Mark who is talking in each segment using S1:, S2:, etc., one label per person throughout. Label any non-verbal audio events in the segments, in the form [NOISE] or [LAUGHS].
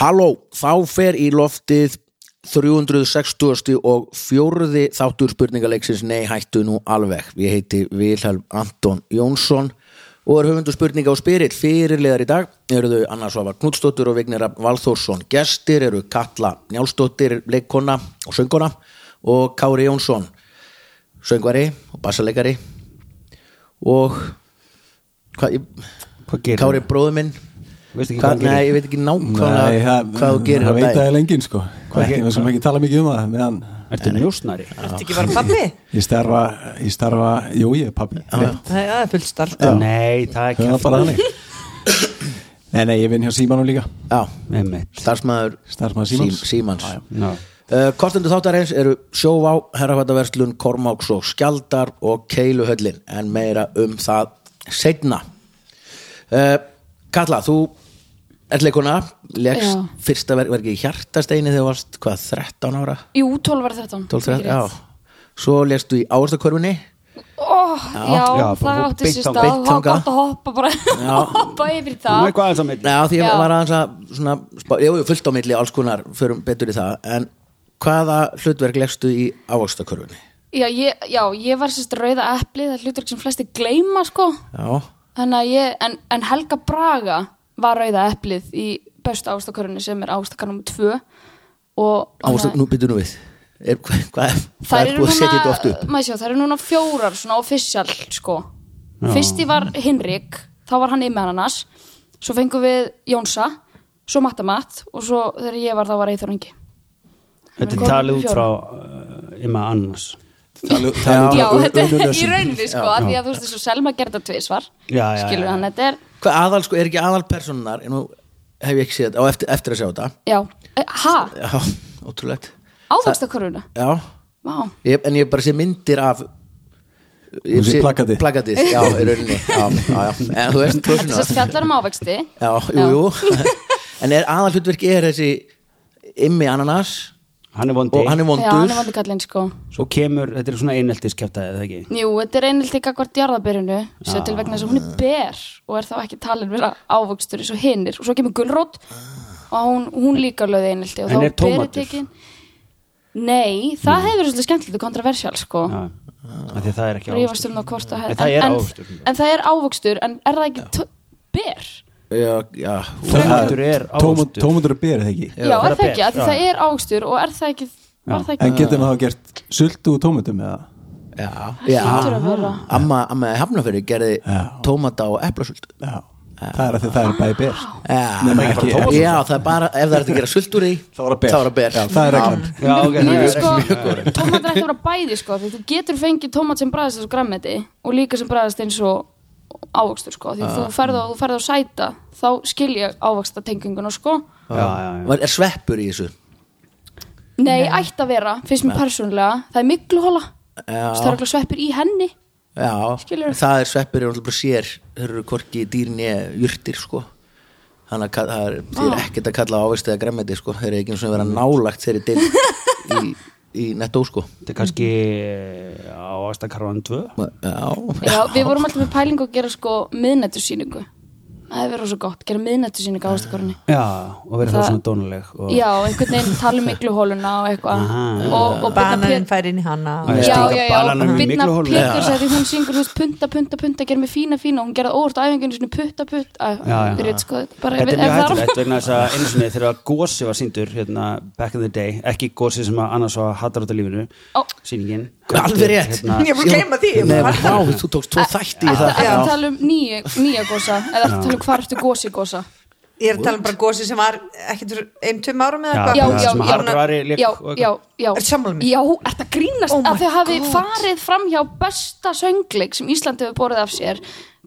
S1: Halló, þá fer í loftið 360. og fjórði þáttur spurningaleiksins Nei, hættu nú alveg. Ég heiti Vilhelm Anton Jónsson og er höfundu spurninga og spyrill fyrirlegar í dag. Eru þau Anna Svafa Knudsdóttir og Vignir Rafn Valþórsson. Gestir eru Katla Njálsdóttir, leikkona og söngkona og Kári Jónsson, söngvari og bassaleikari og hvað,
S2: Hvað gerir
S1: Kári bróður minn
S2: Veistu ekki hvað
S1: hvað,
S2: hann gerir?
S1: Nei, ég veit ekki nákvæmlega hvað þú gerir á
S3: það veit
S1: dag
S3: það lengin sko ekki, við sem ekki tala mikið um það meðan
S2: Ertu njósnari?
S4: Ertu ekki bara pappi?
S3: ég starfa, ég starfa jú ég er pappi Rétt.
S4: Það er- það er fullt starf
S2: Nei, það er
S3: það er
S2: kjæft
S3: bara hannig nei nei ég vinn hjá Símanum líka
S1: Já,
S2: Með mitt
S1: starfsmæður
S3: Starfsmaður Símans.
S1: Símans.
S2: no.
S1: Uh, Kostendur þáttarins eru Sjóvá, Herrafættaverslun, Kormáks og Skjaldar og Keiluhöllin en meira um það setna uh, Katla, þú ert leikuna legst
S5: Já.
S1: fyrsta verk, verki í Hjartasteini þegar þú varst hvað, 13 ára?
S5: Jú, 12 var 13
S1: 12, 13, já Svo legstu í Áastakörfunni
S5: oh, Já,
S2: Já,
S5: það
S2: bara
S5: átti sér
S2: beint á-
S5: stað
S1: beint
S5: Það var
S1: þangað.
S5: gott að hoppa bara [LAUGHS] hoppa yfir
S2: Nú er
S5: það
S2: hvað aðeins á mitt
S1: Já, því
S5: Já.
S1: ég var aðeins að svona, spá, jú, jú, fullt á milli alls konar, förum betur í það en hvaða hlutverk legstu í Áastakörfunni?
S5: já ég, já, ég var sérst rauða epli Það er hlutverk sem flesti gleyma sko
S1: Já,
S5: Þannig að ég, en, en Helga Braga var rauða eplið í bestu ástakörunni sem er ástakar nr. 2 og
S1: Ástu, nú byrju nú við er, hvað, hvað,
S5: það
S1: hvað er
S5: eru
S1: búið að setja þetta oft
S5: núna,
S1: upp
S5: maður sjá, það eru núna fjórar svona official sko fyrsti var Hinrik, þá var hann ymmið ananas, svo fengum við Jónsa, svo Matta Matt og svo þegar ég var þá var Eithor Ingi
S2: Þetta er
S5: Komum
S2: talið
S5: við
S2: út frá uh, Imma Annars
S3: Talu-
S2: um
S3: talu-
S5: já,
S3: talu-
S5: þetta er í
S3: unnulösin.
S5: rauninni sko, að því að þú veist þessu Selma gerði þetta tvisvar
S2: Já, já, já,
S5: skilur
S2: já.
S5: hann, þetta er
S1: hvað aðal, sko, er ekki aðal personunar nú hef ég ekki séð þetta, á eftir, eftir að sjá þetta
S5: já, eh, ha,
S1: já, ótrúlegt
S5: ávægstakoruna
S1: já,
S5: vá,
S1: ég, en ég bara sé myndir af
S3: Þú sé plakatið.
S1: plakatið, já, í rauninni já, já, já, en þú veist
S5: þetta er
S1: personunar
S5: sérst fjallar um ávegsti
S1: já, jú, [LAUGHS] jú en er aðal hlutverk er þessi Immi Ananas
S2: Hann er vondi
S1: og hann er
S5: já, hann er
S1: vondur
S5: vandi kallinn sko
S2: Svo kemur, þetta er svona eineltis kjæftæði, eða ekki?
S5: Jú, þetta er einhild ekki akkvart jarðabyrjunu
S2: Ah.
S5: sér til vegna þess að hún er ber og er þá ekki talin vera ávöxtur eins og hinnir og svo kemur gulrót og hún, hún líka löði einhildi og
S2: En
S5: þá
S2: er tómatur? Hmm.
S5: berið tekin- Nei, það hefur verið svolítið skemmtilegt og kontroversial sko
S2: Já, af því að það er ekki
S5: Rífast um það hvort að
S2: En það er
S5: en,
S2: ávöxtur.
S5: en, en það er ávöxtur, en er það ekki tó- ber?
S1: já, já,
S2: Tómatur er
S3: Tómund-
S2: ávöxtur.
S3: tómundur er berið það ekki
S5: Já, er það
S2: ber,
S5: ekki, af því
S2: já.
S5: það er ávöxtur og er það ekki, var það
S3: en
S5: ekki
S3: getur maður þá gert sultu og tómundum eða
S1: já, já
S5: Hlýtur að vera.
S1: amma, amma Hafnafyrir gerði
S3: Já.
S1: tómata og eplasöld
S3: já það er að því það er bæði ber
S1: Já,
S3: Nema ekki-
S1: já, það er bara, ef það er hægt að gera sult úr því
S3: [LAUGHS] Þá er það ber.
S1: Þá er það ber
S3: Já, það er reglan.
S2: Já, ok,
S5: Mér
S2: það
S5: finnst
S2: er
S5: sko,
S2: ekki
S5: tómatar ætti að vera bæði sko, því þú getur fengið tómat sem bræðast eins og grammeti og líka sem bræðast eins og ávöxtur sko,
S2: Ah.
S5: því þú ferð á, þú ferð á sæta þá skil ég ávöxta tenginguna sko
S1: um-
S2: Já, já, já.
S1: Er sveppur í þessu?
S5: Nei, ætti að vera, finnst mér persónulega það er mikluhóla,
S1: Já.
S5: það er ekki sveppir í henni
S1: Já,
S5: Skilurðu?
S1: það er sveppur er náttúrulega bara sér Þeir eru hvorki dýrni jurtir, sko Þannig að ka- það er, þið
S4: Ah.
S1: er ekkert að kalla ávist eða græmmeiti, sko Þeir eru ekki eins og vera nálagt þeirri dill í, í nettó, sko
S2: Þetta er kannski eh, á Ástakarvan 2
S1: Já,
S5: Já, við vorum alltaf með pælingu að gera sko miðnættursýningu það hefur verið svo gott, gera miðnættursýningu ávöxtakorunni
S2: Já, og verið það
S5: Það-
S2: svona dónuleg og...
S5: Já, einhvern veginn tala um mikluhóluna og eitthvað og, og byrja
S4: Bananin fær inn í hana
S2: Já,
S5: já,
S2: stinga
S5: já, já,
S2: bananum í
S5: Birna
S2: mygluholuna.
S5: Péturs að því hún syngur þú veist punta, punta, punta, gerði mig fína, fína og hún gerði óvart á æfingunni svona putta, putta
S2: Já, já.
S5: Rét, sko, bara,
S2: Þetta er mjög
S5: það-
S2: hættulegt vegna þess að einu sinni þegar að gósi var sýndur hérna, back in the day, ekki gósi sem að annars var hattar út af lífinu
S5: Ó.
S2: sýningin hérna,
S1: Alveg rétt.
S4: Ég var Ah. að gleyma því
S1: Nei, vá, þú tókst tvo þætti í
S5: Það
S1: það
S5: er að tala um nýja, nýja gósa eða að tala um hvar ertu gósi gósa
S4: Ég er að tala um bara gósi sem var ekkert fyrir einn, tveim árum eða
S2: Já,
S4: eitthvað
S5: Já,
S2: bara
S5: já,
S2: sem
S5: já.
S2: Haraldur Ari lék
S5: Já,
S2: og eitthvað.
S5: já, já
S4: Ertu sammála mér?
S5: Já, ert að grínast
S4: Oh my
S5: að þau hafi
S4: God.
S5: farið fram hjá besta söngleik sem Íslandi hefur borðið af sér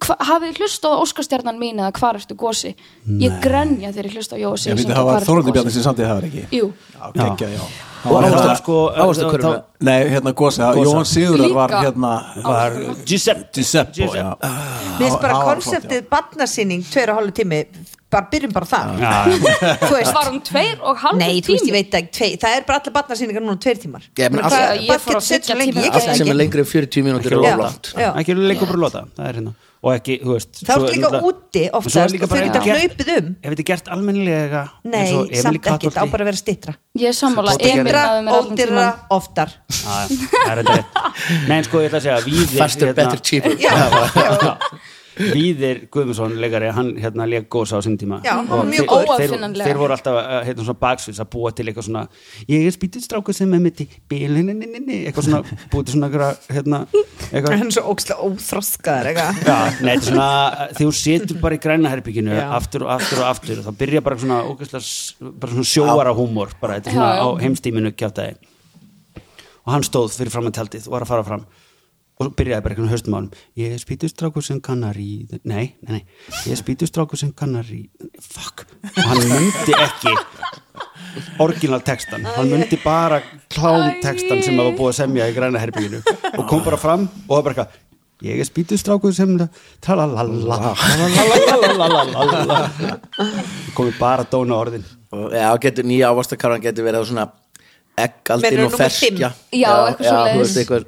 S5: Hva, hafið hlustað á Óskarstjarnan mín eða hvar ertu gósi ég grenja þegar ég hlusta á Jósi
S3: ég myndi það var Þorvaldur Bjarni sem samtíð það var ekki
S5: sko. Jú,
S3: já geggja já
S2: Og
S3: Hann var
S2: ástæðan
S3: hérna-
S2: sko
S1: Ávastakörfu
S2: þá-
S3: nei hérna gósa Jóhann Sigurðar var
S5: Líka.
S3: hérna var
S2: Giuseppe
S3: Giuseppe já
S1: Ah.
S4: Mér finnst bara
S3: Það var flott, já.
S4: konseptið barnasýning, tveir og hálfu tími bara byrjum bara það
S2: Já.
S4: þú veist
S5: var hún um tveir og halvur
S4: Nei, þú veist, ég
S5: tími
S4: veit ekki, tvei, það er bara allar barnasýningar núna tveir tímar
S1: Ég meina,
S4: Hvað-
S1: allt-
S5: Ég
S4: barn
S5: fór á
S4: getur sett svo
S5: þriggja
S4: lengi,
S5: tíma.
S4: ég
S1: allt
S4: get
S1: sem er
S4: það ekki
S1: lengri en 40 mínútur er
S4: Já.
S1: of langt
S4: Já.
S2: ekki leikur bara lóta það er hérna og ekki, þú veist
S4: Þá
S2: svo
S4: ertu líka
S2: náttúrulega-
S4: úti
S2: en svo
S4: oftast
S2: er líka
S4: og þau
S2: bara
S4: geta
S2: gert-
S4: hlaupið um.
S2: ef þetta er gert almennilega
S4: Nei, samt ekkert, á bara að vera stittra
S5: Ég er sammála,
S4: Stittra,
S5: Emil náði mér allan
S4: ódýrra,
S5: tíman
S4: oftar [LAUGHS]
S2: Nei, en sko, ég ætla að segja Víðir, hérna-
S1: faster, better, cheaper
S4: Já,
S2: Já. [LAUGHS] Víðir Guðmundsson leikari, hann hérna leik gósa á sinn tíma
S4: Já, hann
S2: Og
S4: var mjög
S2: þeir-
S5: góður.
S2: þeir,
S5: Óaðfinnanlega.
S2: þeir voru alltaf að, hérna svona baksvils að búa til eitthvað svona ég er spýtið stráku sem er mitt í bílininninni eitthvað svona, búið til svona einhverja, hérna, eitthvað
S4: hann er svo ókslega óþroskaðar eitthvað.
S2: Já, nei, þetta er svona, þegar þú setur bara í græna herbygginu
S4: Já.
S2: aftur og aftur og aftur þá byrja bara svona, ógeðslega s- bara svona sjóara húmor, bara þetta er svona
S5: Já, já.
S2: á heimstíminu kjátaði og hann stóð fyrir fram að tjaldið og var að fara fram og svo byrjaði bara eitthvað höstumálum ég er spýtustrákur sem kannar í nei, nei, nei, ég er spýtustrákur sem kannar í fuck, og hann myndi ekki orginal textan hann myndi bara klám textan sem að var búið að semja í græna herbygginu og kom bara fram og var bara eitthvað ég er spýtustrákur sem tralalala tralalala komið bara dóna orðin
S1: Og, Já, getur, nýja ávastakarvan getur verið á svona eggaldin
S4: Menur
S1: og
S4: númer fimm?
S1: ferskja
S5: Já, eitthvað svoleiðis.
S1: þú veist, eitthvað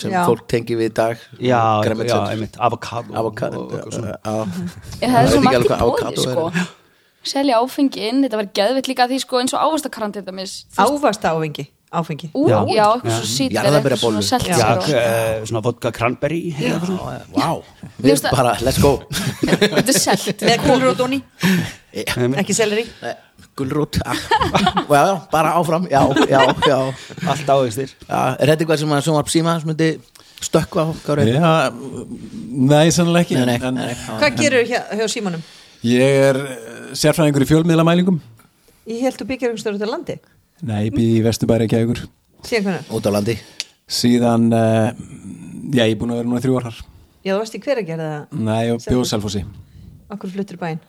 S1: sem
S4: Já.
S1: fólk tengi við í dag
S2: já,
S1: Grænmetis-
S2: já, einmitt, avokado
S1: avokado
S2: og eitthvað svona.
S1: já.
S5: Ég hefði
S1: veit
S5: svo
S1: ekki
S5: margt
S1: alveg
S5: í
S1: hvað avocado
S5: bóði sko
S1: er.
S5: Selja áfengi inn, þetta var geðvitt líka að því sko eins og ávastakarant þetta mis
S4: Ávast áfengi, áfengi
S5: Ú,
S2: Já.
S5: já, eitthvað svo sýtir
S1: Jarðarberjabollur.
S5: selt
S2: já,
S5: sér á
S2: eh, svona vodka cranberry eitthvað svona.
S1: Vá,
S5: Mér
S1: við
S5: finnst að-
S1: bara, let's go
S5: Þetta er selt [LAUGHS]
S4: með kulrótóni, ekki seleri
S1: Gulrút ah. Já, já, bara áfram, já, já, já
S2: allt ávegstir
S1: Já, Er þetta eitthvað sem að sjónvarp síma sem myndi stökkva á Kári?
S3: Já, nei, sannlega ekki
S1: Nei, nei,
S3: en-
S1: nei, já.
S4: hvað gerur hjá Símanum?
S3: Ég er eh, sérfræðingur í fjölmiðlamælingum
S4: ég held þú byggir einhvers stöður til landi
S3: Nei, ég býði í Vesturbæri ekki aukur
S4: síðan hvernig,
S1: Út á landi
S3: Síðan, uh, já, ég er búin að vera núna þrjú orðar
S4: já þú veist í hver að gera það
S3: Nei, og bjóð Selfossi
S4: okkur fluttur í bæinn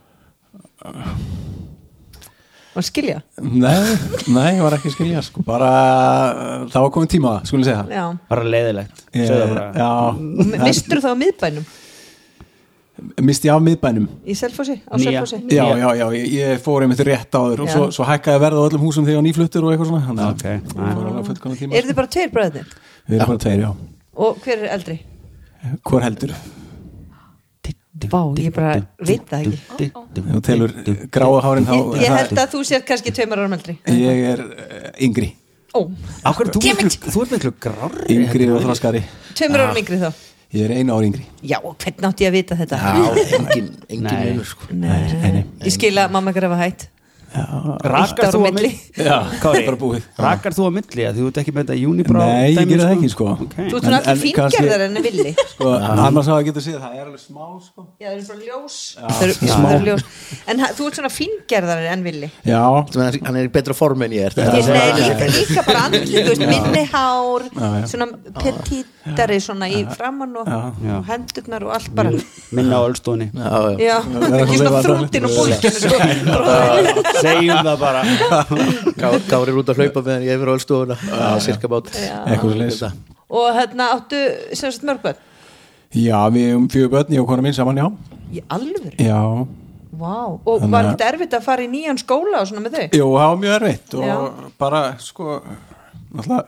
S4: og skilja
S3: Nei, nei, ég var ekki að skilja sko. Bara, eh, það var komin tíma, á það, skulum segja það
S4: já,
S2: bara leiðilegt
S3: Ég-
S2: segðu það bara
S3: Já, það-
S4: mistur þá á miðbænum
S3: misti ég af miðbænum
S4: í Selfossi, á
S2: Nýja.
S4: Selfossi
S3: Já,
S2: Já.
S3: já, já, ég, ég fór einmitt rétt áður og
S4: Já.
S3: svo, svo hækkaði verð á öllum húsum þegar ég var nýfluttur og eitthvað svona Þannig að
S2: Ok.
S3: það fór alveg fullkomna tíma sko.
S4: eru þið bara tveir bræðir
S3: Við erum bara tveir, já
S4: og hver er eldri?
S3: Hvor heldur?
S4: Vá, ég bara veit það ekki
S3: Ef þú telur gráa hárin þá
S4: Ég, ég held að þú sér kannski tveimur árum eldri
S3: Ég er eh, yngri
S4: Ó,
S2: Akkur, þú, miklu, þú ert miklu grárri
S3: Yngri og þroskari
S4: tveimur
S3: Ah.
S4: árum yngri þá
S3: Ég er einu ári yngri
S4: Já, og hvernig átti ég að vita þetta?
S1: Já, engin, engin
S2: Nei.
S1: munur sko
S3: Ah. Nei, nei, nei.
S4: Ég skil að mamma ykkar hafa hætt
S2: Rakar
S4: Eitt
S2: þú að
S4: ár á
S2: milli?
S4: milli.
S3: Já,
S2: Kári,
S3: bara búið.
S2: rakar þú að milli að þú ert ekki með þetta unibrow
S3: Nei, ég
S2: dæmi,
S3: gerði það ekki sko
S2: Ok.
S4: Þú ert svona
S3: En-
S4: allir
S3: en
S4: fíngerðar en villi
S3: kannski- Sko, annars hafa getur séð það er alveg smá sko
S4: [LAUGHS] Já, það eru bara ljós Það eru- já, það eru ljós En ha- þú ert svona fíngerðar en villi
S3: Já,
S1: Sem er- Hann er í betra form en ég er
S4: Ég-
S1: þetta
S4: Nei, líka, líka bara andli, þú veist, minni hár
S3: já.
S4: Svona petítari svona í framann og,
S2: Já.
S4: og hendurnar og allt bara
S2: minna á ölstóni
S1: Já, já.
S4: Já, ekki svona þrútin og búlkin
S2: segjum það bara
S1: Ká- Kári er út að hlaupa með hann ég yfir á allstofuna Sirka bát
S3: eitthvað svo
S4: Og hérna áttu sem sagt mörg börn
S3: Já, við erum fjögur börn, ég og kona mín saman, já
S4: Í alvöru
S3: Já,
S4: Vá, og
S3: Þannig
S4: var
S3: að-
S4: þetta erfitt að fara í nýjan skóla og svona með þau?
S3: jú, það var mjög erfitt og
S4: Já.
S3: bara, sko náttúrulega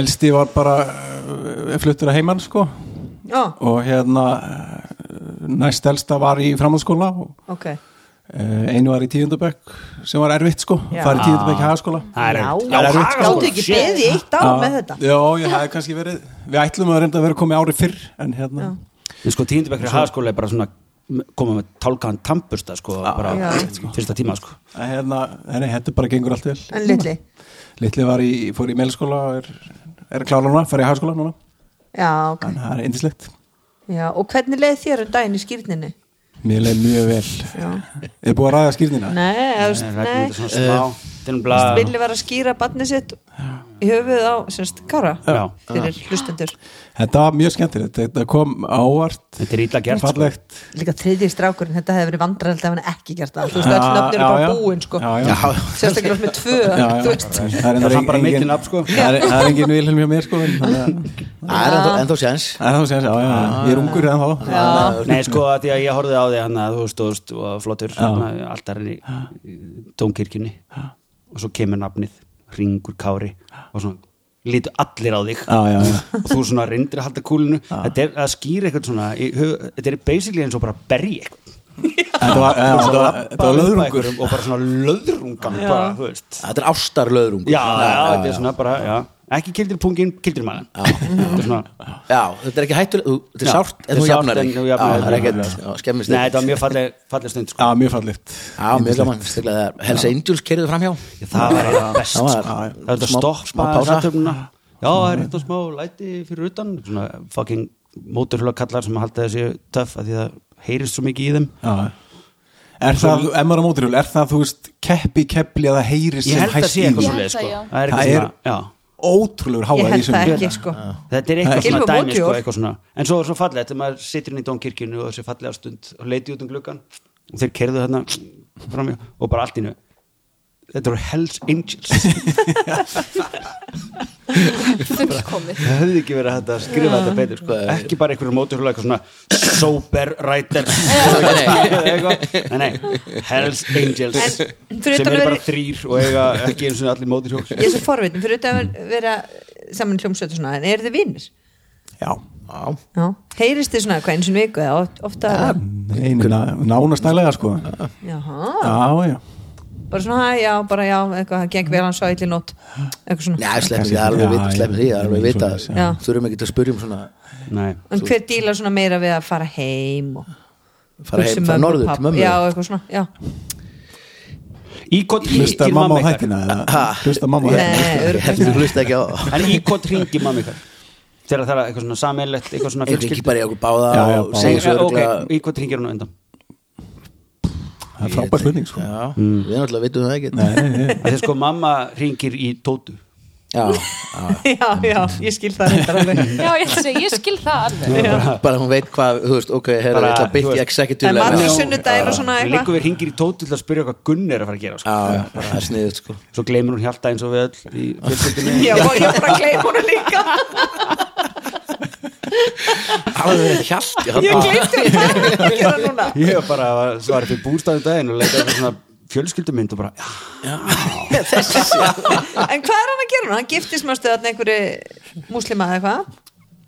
S3: elsti var bara eh, fluttur að heimann, sko
S4: Já,
S3: og hérna eh, næst elsta var í framhaldsskóla og
S4: ok.
S3: eh, einu var í tíundabökk sem var erfitt, sko,
S4: Já.
S3: farið tíundabökk í
S2: Ah.
S3: hagaskóla
S2: Það er
S4: Já,
S2: erfitt.
S4: já,
S2: Það er erfitt, sko.
S4: gáttu ekki
S2: Shit.
S4: beðið í eitt ár með þetta?
S3: Já, ég hafði kannski verið Við ætlum að reynda að vera komið árið fyrr En hérna
S2: en sko tíundabekri hagaskóla er bara svona koma með tálkaðan tampusta sko, bara
S4: Já.
S2: fyrsta tíma sko.
S3: En hérna, nei, þetta bara gengur allt vel
S4: En litli?
S3: Litli var í, fór í meilskóla og er, er að klára núna, farið í hagaskóla núna
S4: Já, ok.
S3: Þannig að það er indislegt
S4: Já, og hvernig leið þér um daginn í skýrninni?
S3: Mér leið mjög vel
S4: Já.
S3: Er búið að ræða skýrnina?
S4: Nei, þú veist,
S2: Rækjum þetta
S3: Eh,
S4: nei.
S2: svona smá til um blað
S4: Villi var að skýra barnið sitt í höfuð á semst Kára
S2: Já.
S4: fyrir hlustendur
S3: Þetta var mjög skemmtilegt, þetta kom ávart
S2: Þetta er ítla gert sko.
S3: fallegt
S4: líka þriðji strákurinn, þetta hefði verið vandræðild ef hann ekki gert það, þú veist, öll nöfn eru bara búin sko,
S3: já, já.
S4: sérstaklega með tvö
S3: já.
S4: þú veist,
S3: Það er
S2: Það
S3: enda
S2: er hann bara
S3: engin-
S2: meitt í nafn, sko.
S3: Það er- það er engin vilhelm hjá mér sko en þannig að-
S1: Það er ennþá- ennþá séns
S3: en þá séðan, já, já, já, ég er ungur en þá
S2: Nei, sko, að því að ég horfði á því hann að þú stóðst og flottur alltarinn í tónkirkjunni og svo kemur nafnið Ringur Kári og svona lítu allir á þig
S3: Já, já, já.
S2: og þú svona reyndir að halda kúlinu þetta er að skýra eitthvað svona í hug- þetta er basically eins og bara að berja eitthvað
S3: Þetta var, já, þetta var, þetta
S2: Bara um- upp
S3: var
S2: að
S3: löðrungur
S2: einhverjum og bara svona löðrungan bara, þú veist
S1: Þetta er ástarlöðrung
S2: já, þetta er svona bara, já ekki kildir pungin, kildir magan þetta er svona
S1: Já, þetta er ekki hættulega, þú- þetta er
S2: Já,
S1: sárt
S2: þetta
S1: en þú
S2: er sárt
S1: jafnar
S2: en
S1: þig.
S2: þú
S1: Já,
S2: jafnar þig.
S1: það er ekkert, já, skemmist
S2: Nei, þetta var mjög falleg, falleg stund sko.
S3: Já, mjög fallegt
S1: Já, mjög gaman, steglega það Hells Angels kerðu framhjá
S2: Ég, það var eiginlega best
S1: Það
S2: sko.
S1: var-
S2: það var þetta að
S1: smá- smá Mm.
S2: stoppa
S1: pása.
S2: sattöfnuna já, það er eitthvað smá læti fyrir utan svona fucking móturhjóla kallar sem halda þessi töff að því það heyrist svo mikið í þeim
S3: Já Er það, ef maður er á mótirhjól, er það, þú veist, keppi, keppli að það heyri sem
S2: ég held að
S3: hæst
S2: sé
S3: í
S2: eitthvað
S3: því?
S5: Ég held
S2: svoleið sko.
S5: það,
S2: það
S5: já.
S2: er
S3: Það
S2: eitthvað
S3: er-
S2: svona, já
S3: Ótrúlegur háa
S4: ég held það ekki sko
S2: Þetta er eitthvað
S4: Gylfi
S2: svona
S4: á
S2: dæmi sko,
S4: mótorhjól.
S2: eitthvað svona. En svo er svo fallið, þetta maður situr inn í domkirkjunu og þessi fallega stund og leiti út um gluggan og þeir kerðu þarna framjá og bara allt innu Þetta eru Hells Angels
S5: fullkomið
S2: Það hefði ekki verið hægt að skrifa þetta betur sko. Ekki bara einhverjum móturhjóla eitthvað svona Sober Rider
S4: [LAUGHS]
S2: Nei, nei, Hells Angels
S4: En
S2: sem
S4: fyrir
S2: eru
S4: utan að
S2: bara
S4: vera-
S2: þrýr og eiga ekki eins og allir móturhjól
S4: ég er svo forvitin, fyrir þetta að vera saman í hljómsveit og svona, en eru þið vinnir?
S3: Já,
S1: Já,
S4: Já, heyrist þið svona hvað eins og viku eða oft- ofta
S3: einu nánastælega sko
S4: Jaha,
S3: Já, já
S4: bara svona, hæ, já, bara já eitthvað, það gekk vel hann svo illi nótt eitthvað svona,
S1: Nei, sleppum
S3: Kannski-
S1: því, það er alveg
S3: Já,
S1: vita,
S3: já,
S1: sleppum því, það er alveg
S3: já,
S1: vita
S3: svoleiðis,
S4: já.
S1: Þurfum ekki að spyrja um svona
S2: Nei,
S4: en hver dílar svona meira við að fara heim og
S1: fara
S4: hugsa
S1: heim,
S4: um
S1: fara
S4: mömmu og
S1: norður
S4: pabba.
S1: til mömmu
S4: já, eitthvað svona, já,
S2: íkot
S3: Hlustar
S2: hringir
S3: mamma á
S2: mamma ykkar
S3: þættina eða Hlustar mamma á
S4: Nei,
S3: þættina
S1: Ég heldur þú hlusta ekki á
S2: En íkot hringir mamma ykkar Þegar það er eitthvað svona sameilegt eitthvað svona
S1: Ég ekki
S2: fjölskyldu
S1: bara í okkur báða
S3: Já, já,
S1: og
S3: báða.
S1: segja svo
S2: Ok,
S1: örgla
S2: íkot hringir hún á undan
S3: Það er frábær hluning sko
S1: Já, við náttúrulega vitum það ekki Nei,
S2: Þegar sko mamma hringir í tótu
S1: já
S4: [LAUGHS] já, já, ég skil það reyndar alveg
S5: já ég, ætla að segja, ég skil það alveg
S1: bara hún veit hvað, þú veist, ok, herra,
S2: Bara,
S1: ég ætla að
S2: þú
S1: byrja
S2: veist,
S1: executive
S4: en
S1: level.
S4: margir
S1: Já,
S4: sunnudagir og svona
S2: Við
S4: eitthvað
S2: líkum við hringir í tótu til að spyrja hvað Gunn er að fara að gera sko.
S1: já, það er sniðut sko
S2: Svo gleymir hún hjarta eins og við öll í
S4: [LAUGHS]
S2: fjölskyldunni
S4: já, og ég bara gleym honu líka
S1: alveg hjalt, já,
S4: ég gleymdi hún það er að gera núna
S2: Ég var bara að svara fyrir bústæðu daginn og leita fyrir svona fjölskyldumynd og bara, "Ah." já,
S4: en hvað er hann að gera núna, hann giftist mjög stöðan einhverju múslima eða eitthvað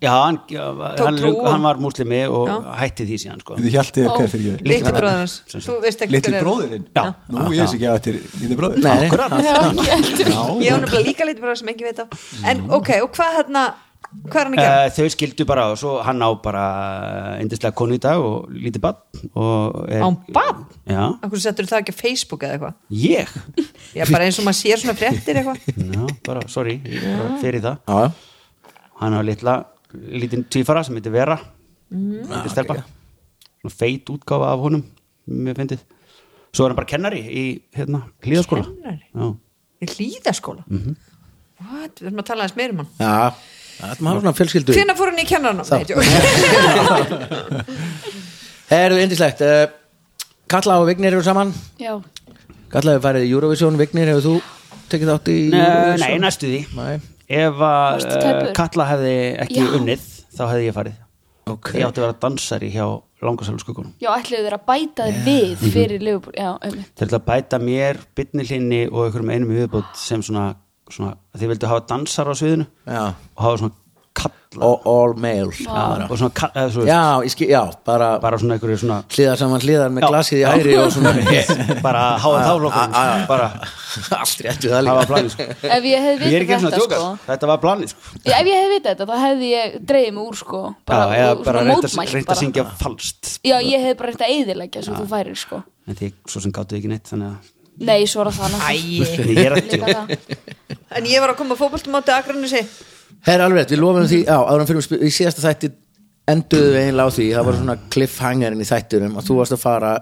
S2: já hann, já, hann,
S4: trú og-
S2: hann var múslimi og
S4: Já.
S2: hætti því síðan sko.
S3: Þú hjaldi þér hver fyrir ég
S4: litli bróður hans,
S2: sem sagt.
S4: þú veist ekki
S3: Litli
S4: hver er.
S3: bróðurinn?
S2: Já.
S3: Nú, ég veist ekki að þetta er litli bróður
S1: Nei, nei.
S4: ég á nefnilega líka litli bróður sem ekki veit á en ok, og hvað hérna hvað er hann að gera,
S2: Eh, Þau skildu bara og svo hann á bara endislega konu í dag og lítið bann og er,
S4: á hann bann
S2: Já,
S4: af hverju settur það ekki á Facebook eða eitthvað
S2: ég
S4: já, bara eins og maður sér svona fréttir eitthvað
S2: Já, bara, sorry, ég bara fyrir það
S1: já,
S2: hann á litla, lítinn tvífara sem heitir Vera
S5: Mhm.
S2: mm.
S1: Ah,
S2: heitir stelpa okay. feit útgáfa af honum mér fyndið svo er hann bara kennari í hérna, hlýðaskóla
S4: Kennari?
S2: Já.
S4: í hlýðaskóla what, við erum að tala aðeins meir um hann
S1: já, það er maður svona fjölskyldu
S4: hvenær fór hann í kennaranum
S1: Þá.
S4: Nei, djók.
S1: Herðu, indislegt uh, Kalla og Vignir eru saman
S5: já,
S1: Kalla hefur farið í Eurovision, Vignir hefur þú tekið þátt í
S2: Nei,
S1: Eurovision?
S2: Eh, nei, næstu því
S1: Nei.
S2: ef að
S5: Varstu tæpur?
S2: eh, Katla hefði ekki
S5: Já.
S2: unnið þá hefði ég farið
S1: Ok.
S2: ég átti að vera dansari hjá langarsælu skuggunum
S5: já ætluðu þeir að bæta þér
S2: Mhm.
S5: við fyrir Liverpool já, um.
S2: þeir ætla að bæta mér, bytni hlinni og einhverjum einum í viðbót sem svona, svona þeir vildu hafa dansar á sviðinu
S1: Já.
S2: og hafa svona kalla
S1: all, all male
S2: Já, og svona, kall- eða svo
S1: já, ég skil, já, bara,
S2: bara svona einhverju svona
S1: hliðar saman hliðar með
S2: Já.
S1: glasið í hæri og
S2: [LAUGHS]
S1: svona
S2: bara háa
S3: Ah,
S2: þá
S1: Já, já, já.
S2: flokkur bara
S1: [LAUGHS] allt réttu það
S2: það var
S1: líka
S2: planið sko.
S5: ef ég hefði
S2: ég er ekki
S5: vitað
S2: eins og að
S5: þetta
S2: djóka
S5: sko
S2: þetta var planið sko.
S5: Já, ef ég hefði vitað þetta, þá hefði ég dreigð mig úr sko, bara,
S2: já, eða
S5: og-
S2: bara
S5: svona
S2: reynt að,
S5: mótmælt
S2: reynt
S5: bara.
S2: að syngja falskt
S5: Já, ég hefði bara reynt að eyðileggja sem þú færir sko
S2: en því svo sem gáttu ekki neitt þannig að
S5: Nei, svo er það náttúrulega
S4: Æi.
S2: [LAUGHS] en ég er að
S5: Líka
S2: djóka
S5: það.
S4: en ég var að koma að fótboltamóti að Akranesi
S1: herra, alveg, rétt, við lofum því, já, árum fyrir sp- í síðasta þætti enduðu við eiginlega á því það var svona cliffhangerin í þættinum að þú varst að fara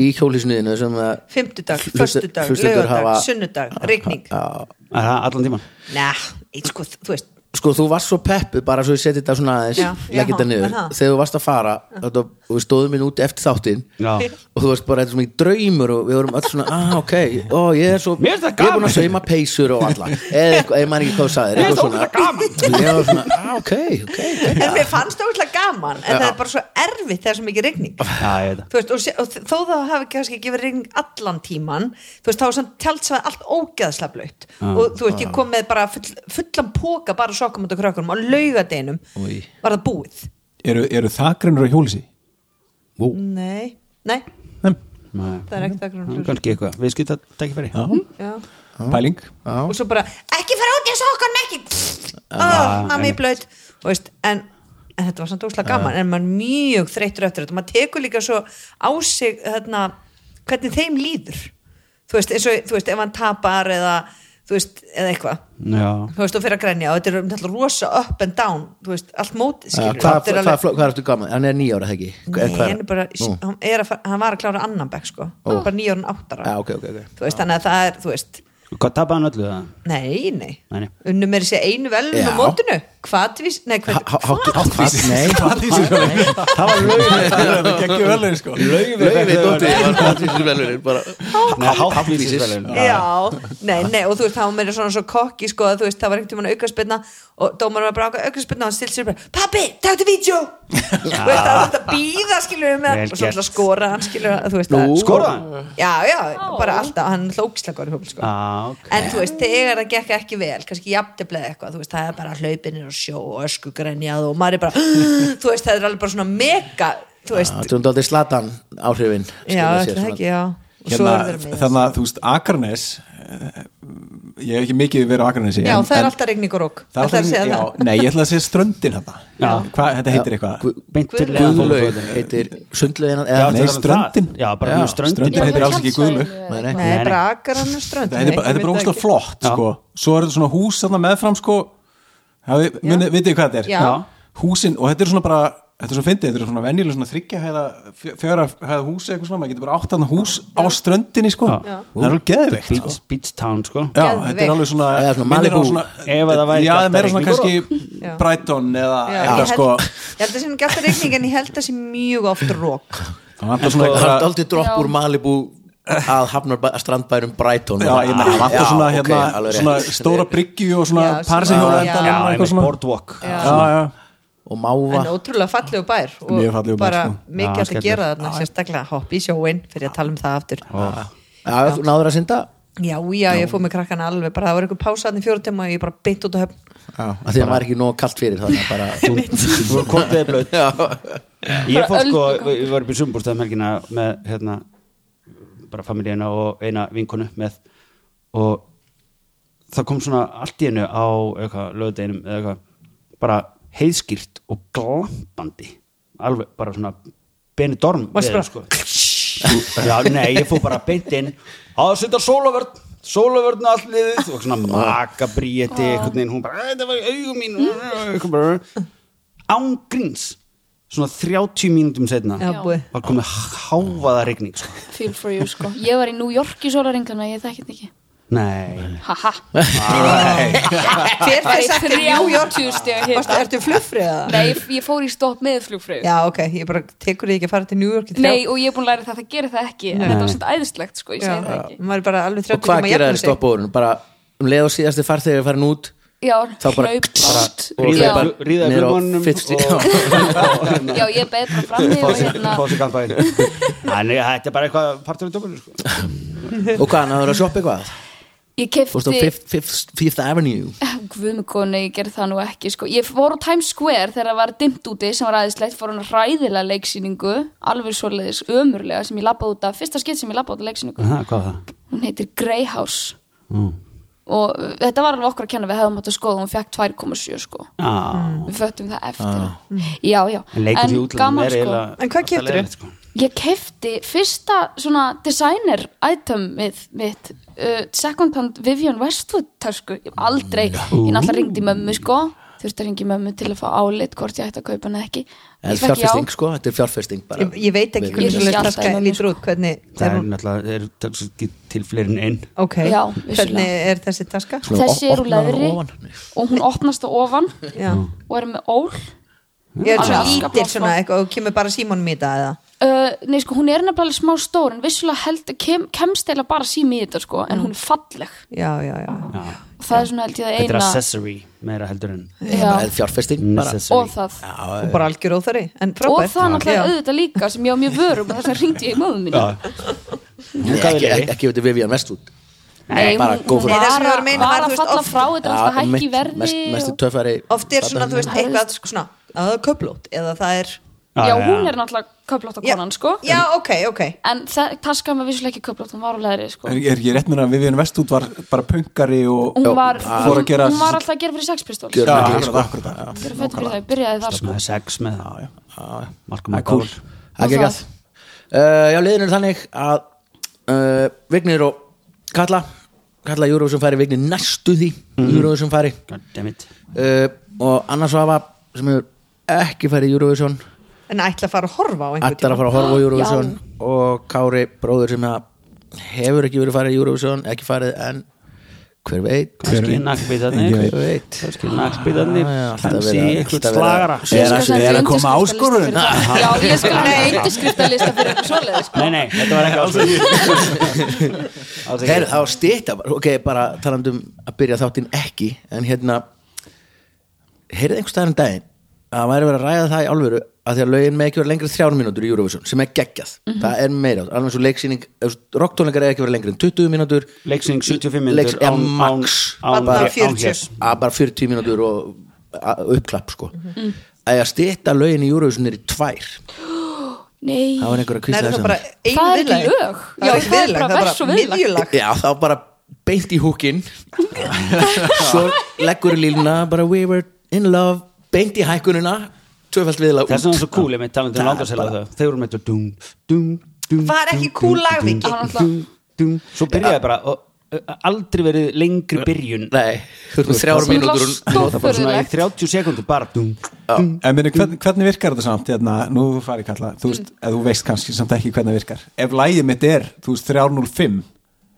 S1: í hjólísniðinu sem að
S4: Fymtudag,
S1: Hlustu-
S4: Mhm. föstudag,
S1: hlustendur
S4: laugardag,
S1: hafa- Ah,
S4: sunnudag, rigning
S2: Er það allan tíman?
S4: Næ, eitt sko, þú veist
S1: sko þú varst svo peppu bara svo ég seti þetta svona aðeins
S4: Já,
S1: leggja þetta
S4: já,
S1: niður,
S4: aha.
S1: þegar þú varst að fara þetta, og við stóðum minn út eftir þáttinn
S5: [LAUGHS]
S2: Já.
S1: og þú varst bara þetta er svo mikið draumur og við vorum alls svona, ah ok ó, ég er svo,
S2: Mér
S1: ég
S2: finnst það
S1: er búin
S2: gaman.
S1: að sauma peysur og alla eða eitthvað, ég man ekki hvað þú sagðir
S2: Mér
S1: eitthvað
S2: finnst það
S1: svona, ég var svona, ah ok ok, ok,
S4: En mér fannst það útla gaman En það er bara svo erfitt þegar svo mikið rigning
S2: Já, ég veit það.
S4: Þú veist, og, sé- og þó það hafi kannski gefið rigning allan tíman þú veist, þá er samt tjaldsvæð allt ógeðslega blöytt og þú veist, ég kom með bara full, fullan póka bara sokkum út af krökkunum og laugadeinum
S1: Új.
S4: var það búið
S3: Eru, eru þakrinur á hjólísi?
S4: Nei, nei,
S3: Nei,
S2: Nei.
S4: það er ekkert
S2: Já,
S4: það grunn
S2: Kannski eitthvað, við skilta tækifæri
S3: já,
S4: og
S3: pæling
S4: svo bara, ekki fara út í sokkunum ekki
S1: Ah,
S4: oh, mammi er blöytt Þú veist, en, en þetta var samt óslega gaman
S1: Ah.
S4: en maður er mjög þreyttur eftir þetta maður tekur líka svo á sig þarna, hvernig þeim líður þú veist, eins og, þú veist, ef hann tapar eða, þú veist, eða eitthvað
S2: Já,
S4: þú veist, og fyrir að grænja og þetta er um þetta rosa up and down, þú veist, allt móti
S1: Ja,
S4: skilur,
S1: hvað,
S4: þetta er
S1: hvað, hvað, hvað ertu gaman, hann er nýjára það ekki
S4: nei,
S1: Hvað
S4: hann er bara,
S1: Nú.
S4: hann, er að, fara- hann var að klára annan bekk, sko, oh. bara nýjórn áttara
S1: Já, ok, ok, ok
S4: þú veist, þannig að það er, þú veist
S2: hvað tapaði hann öllu það?
S4: nei, nei,
S2: Nei, nei.
S4: unnum er þessi einu velum á
S1: Já.
S4: mótinu, hvatvís nei, hvað,
S1: Há- há- Hvað? Nei,
S2: Það var lögveit
S3: Það gekk ég vel eins sko
S1: Laufey Dóttir var hátíðsverðlunin bara Háttvísis.
S4: Já, nei, nei, og þú veist, það var meira svona svo kokki, sko, að þú veist, það var einhvern tímann aukarspilna og dómar var bara aukarspilna og hann stilt sér bara, pappi, taktu vídeo þú veist, það var þetta býða, skilur við með
S2: Vel
S4: og svo
S2: gert.
S4: alltaf skora hann, skilur við, þú veist, það
S2: Skoraði hann?
S4: Já, já, bara alltaf, hann hlókslagor í hópul, sko
S2: Já, Ah, ok.
S4: En þú veist, þegar það gekk ekki vel, kannski jafnteflega eitthvað, þú veist, það er bara hlaupinir og sjó og öskugrenjað og maður er bara, [GASPS] þú veist, það er alveg bara svona mega, þú veist,
S1: Þetta er aldrei slatan áhrifin
S4: já, þetta er ekki, já og svo
S3: hérna,
S4: er þeir með
S3: Þannig að þú veist, Akarnes eh, Ég hef ekki mikið verið á Akarnesi
S4: Já,
S3: en-
S4: það er
S3: en-
S4: alltaf regning og rók
S3: Það er alltaf
S4: segja
S3: já,
S4: það
S3: Nei, ég ætla að segja ströndin hérna
S2: Já.
S3: Hvað, þetta heitir eitthvað
S1: Guðlaug heitir sundlaugin eða
S3: Nei, ströndin
S2: Já, bara
S1: Já,
S2: mjög ströndin
S3: ströndin. heitir alls ekki
S1: Nei, nei.
S4: Nei,
S2: Nei,
S4: bara akar hann um strönd
S3: Þetta er bara- þetta er bara óslega flott
S2: Já.
S3: sko. Svo er þetta svona hús þarna meðfram sko. Hafi, muni, vitið þið hvað þetta er
S4: Já. Já.
S3: Húsin, og þetta er svona bara Þetta er svona fyndið, þetta er svona venjulega svona þryggja hæða, fjöra hæða húsi eitthvað svona, maður getur bara átt þarna hús á ströndinni sko,
S2: Já.
S3: það er alveg geðveikt sko.
S2: Beach, beach Town, sko
S3: Já,
S4: Geðveikt.
S3: þetta er alveg svona,
S1: Eða svona
S3: minnir á
S1: Malibu.
S2: Ef að það væri
S3: Já,
S2: ekki
S3: það er meira
S2: alltaf
S3: svona kannski
S4: Já.
S3: Brighton eða
S4: Já, ég,
S3: eitthvað
S4: held,
S3: sko
S4: ég held að sem ekki alltaf regning en ég held að sem mjög oft rók
S3: Það vantar
S1: Það
S3: svona
S1: er
S3: eitthvað
S1: aldrei dropp úr Malibu að hafnar strandbærum Brighton
S3: Já, ég meina, það vantar svona, hérna, svona stóra bryggju og svona
S4: Já,
S3: parsinhjóla
S4: svona-
S3: endan
S4: Já,
S3: og
S2: einmitt,
S3: eitthvað svona
S2: boardwalk
S3: Já, já,
S1: og máva
S4: en ótrúlega fallegu bær og
S3: Mjög fallegur bær,
S4: bara
S3: sko.
S4: mikið
S2: Já,
S4: hægt að
S2: skellur.
S4: gera þarna sérstaklega hopp í sjóin fyrir að tala um það aftur
S1: Já, þú náður að synda
S4: já, já, ég fór með krakkana alveg bara það var einhver pásaðn í fjóra tíma og ég bara beint út á höfn
S1: að því að maður er ekki nóg kalt fyrir þannig að
S4: [LAUGHS]
S2: Þú voru kortið blöð
S1: bara
S2: Ég
S5: Bara
S2: fór sko,
S5: öldungað.
S2: við við varum í sumbúrstæðum helgina með hérna bara familíina og eina vinkonu með og það kom svona allt í hennu á eitthvað lögudeinum eða eitthvað bara heiðskýrt og glampandi alveg bara svona Benidorm
S4: Varstu bara-
S2: veður, sko. Já, nei, ég fór bara beint inn á að setja sólavörn sólavörn og allt liðið og [LAUGHS] svona makabríeti einhvern veginn, hún bara, "Æ, þetta var í augum mín eitthvað bara án gríns svona 30 mínútum setna
S4: já, búið
S2: var komið háfaða rigning sko.
S5: Feel for you sko Ég var í New York í sólaringana, ég þekki þetta ekki
S2: nei,
S5: Haha
S1: [LAUGHS]
S4: hver fyrir sagt í New York
S5: 30 stiga
S4: Varstu-
S5: hita
S4: ertu fluffriða?
S5: Nei, ég fór í stopp með flugfröðu
S4: já, ok, ég bara tekur því ekki að fara til New York í þrjá-
S5: Nei, og ég er búin að læra það, það gerir það ekki En þetta var svona æðislegt sko, ég
S4: já,
S5: segi það ekki
S4: maður er bara alveg
S1: og
S4: 30
S1: hvað
S4: tíma að
S1: gera
S4: jafna
S1: þeir
S4: sig.
S1: stoppa úrun bara um leið og síðasti farþegi er farin út
S5: Já,
S1: þá bara
S5: hlaup
S1: og
S5: Já.
S1: hlaupa
S2: ríða í
S1: niður á
S2: flugmannum
S1: Fifth Street.
S2: [LAUGHS]
S1: Já.
S5: Já, ég er betra frammi
S2: hérna. fá
S5: og
S2: sér-
S5: hérna
S2: fá sér kampaðin þannig að þetta er bara eitthvað partur af dökunni sko.
S1: og hvað, náður að shoppa eitthvað
S5: Ég
S1: fórst á
S5: kefti
S1: Fifth- Fifth Fifth Avenue
S5: Guðmikonu, ég gerði það nú ekki sko. Ég fór á Times Square þegar það var dimmt úti sem var aðeinslegt, fór hann ræðilega leiksýningu alveg svoleiðis ömurlega sem ég labbaði út af, fyrsta skitt sem ég labbaði út af leiksýningu
S2: Aha, hvað var það?
S5: hún heitir Greyhouse
S2: Mm.
S5: og uh, þetta var alveg okkur að kenna við hefðum átt að skoða, hún fekk 2,7 sko
S2: Ah.
S5: við föttum það eftir já, já, sko.
S2: En leikur í útlöndum er eiginlega
S4: En hvað
S2: alltaf
S4: keyptirðu?
S2: leiðinlegt, sko.
S5: ég kefti fyrsta svona designer item mið, mitt uh, second hand Vivian Westwood törsku, ég hef aldrei, ég náttúrulega ringdi mömmu sko þurfti að ringi mömmu til að fá álit hvort ég ætti að kaupa hann eða ekki
S1: En
S5: ég fekk já,
S1: fjárfesting sko, þetta er fjárfesting bara
S4: ég, ég veit ekki
S1: Við-
S5: Ég
S4: hvernig
S5: sé
S4: þessu
S5: alltaf
S4: taska
S5: innan,
S4: lítur út hvernig
S2: það er
S4: hún-
S2: náttúrulega er, er, til fleiri en einn
S4: ok,
S5: Já,
S4: hvernig
S5: vissulega.
S4: er þessi taska
S1: Svona
S5: þessi er úr
S1: sko. opnar
S5: leðri
S1: ofan. Nei.
S5: og hún opnast á ofan
S4: Já.
S5: og er með ól
S4: ég er svo
S5: Alveg
S4: lítil
S5: afskaplega
S4: svona
S5: smá.
S4: eitthvað og kemur bara símónum í það eða
S5: uh, nei sko hún er nefnilega smá stór en vissulega held, kem, kemst eila bara sími í þetta sko
S1: Mm.
S5: en hún er falleg
S4: já, já, já,
S5: og það er svona held ég að
S2: þetta er
S5: eina
S2: accessory meira heldur en
S1: Það er
S5: já,
S1: fjárfesting
S2: Mm,
S1: bara eh,
S2: necessary
S5: og það
S4: og bara algjör óþari en
S5: og
S4: frábært
S5: það er náttúrulega
S4: Já.
S5: auðvitað líka sem ég á mjög vörum og þess að ringdi ég í möðum mínu
S1: Nei, ekki, ekki, ekki veitir Vivian Westwood
S5: Nei,
S1: bara
S5: hún,
S1: go
S5: hún
S1: for
S4: Nei,
S5: var,
S4: það sem ég var
S5: að-
S4: að meina var, þú
S5: var að
S4: veist,
S5: falla
S4: oft-
S5: frá þetta var alltaf hækki í verði
S1: mest, mestu
S5: og,
S1: töffari
S4: oft er svona, þú veist,
S5: Herðu.
S4: eitthvað sko, svona, að það er köplót eða það er
S5: já, hún er náttúrulega köplótta
S4: Já.
S5: konan sko
S4: já, ok, ok
S5: en það taskan var vissulega ekki köplótta hún var á leðri sko
S3: Er, er ég rétt mér að Vivian Westwood var bara punkari og
S5: hún var,
S3: fór
S5: hún,
S3: að gera
S5: hún var alltaf að gera fyrir sexpistól
S1: Gjör-
S5: gera
S3: Já,
S1: Nákvæmlega,
S3: akkurat,
S1: sko.
S3: akkurat, akkurat.
S5: fyrir fyrir það, ég byrjaði þar sko
S2: með sex með Malcolm
S3: Það er cool.
S2: McDowell
S1: Það er geggjað uh, Já, liðin er þannig að uh, Vignir og Kalla Kalla Júruvísum færi, Vignir næstu því mm. Júruvísum færi
S2: God damn it
S1: uh, og Anna Svava sem hefur ekki farið í Eurovision
S4: en ætla að fara að horfa á einhvern
S1: ætlar að fara að horfa á Eurovision og Kári bróður sem að hefur ekki verið farið í Eurovision ekki farið en hver veit
S2: kannski
S1: hver
S2: nakkbytarnir
S1: veit
S2: kannski nakkbytarnir
S1: Já, já, alltaf
S2: kannski
S1: verið að-
S2: eitthvað
S1: alltaf verið að-
S2: slagara
S5: Ég
S3: Er
S5: skal
S3: að-
S5: senda
S3: er að koma
S5: undirskriftalista
S3: áskorun?
S5: fyrir það. Já, ég skal hafa undirskriftalista fyrir eitthvað svoleiðis sko.
S2: nei, nei, þetta var ekki alls ekki alls
S1: Her,
S2: ekki
S1: þá stýta, ok, bara talandi um að byrja þáttinn ekki en hérna heyrið einhvers staðar um daginn að það væri verið að ræða það í alvöru að því að lögin með ekki vera lengri en þrjár mínútur í Eurovision sem er geggjað,
S4: Mhm.
S1: það er meira alveg svo leiksýning, rocktónleikar eða ekki vera lengri en 20 mínútur
S2: leiksning 75 minnur
S1: Leiks- ja, max.
S4: Bara 40.
S1: að bara 40 mínútur og að- uppklapp sko
S4: Mhm. Mm.
S1: að að stýta lögin í Eurovision er í tvær
S5: Nei,
S1: það var einhver að
S4: Nei,
S1: kvista
S4: það er
S1: þess
S4: bara
S1: að
S4: einu
S5: Það er
S4: viðlag.
S5: ekki lög.
S4: það
S5: Já,
S4: er ekki viðlag, það er
S5: vers og
S4: bara
S5: viðlag.
S4: miðjulag
S1: Já, þá bara beint í húkin Svo leggur líluna bara we were in love beint í hækkununa tvöfald viðlega
S2: það er svona svo cool ég með talandi um langarsæla þau þau voru með þetta dung, dung, dung,
S4: Var ekki
S2: dung,
S4: cool
S2: dung,
S4: lag,
S2: dung,
S4: Viki?
S2: dung, dung, dung. svo byrjaði bara og, uh, aldrei verið lengri byrjun
S1: Nei, þú erum þrjár
S5: Sem
S1: mínútur
S5: lá
S1: og nota bara svona-
S2: svona í
S5: Furðulegt.
S2: 30 sekundur bara dung, dung.
S3: En minni, hvern, hvernig virkar þetta samt hérna, nú farið kalla, þú veist,
S5: Mm.
S3: eða þú veist kannski samt ekki hvernig það virkar ef lægið mitt er, þú veist, 305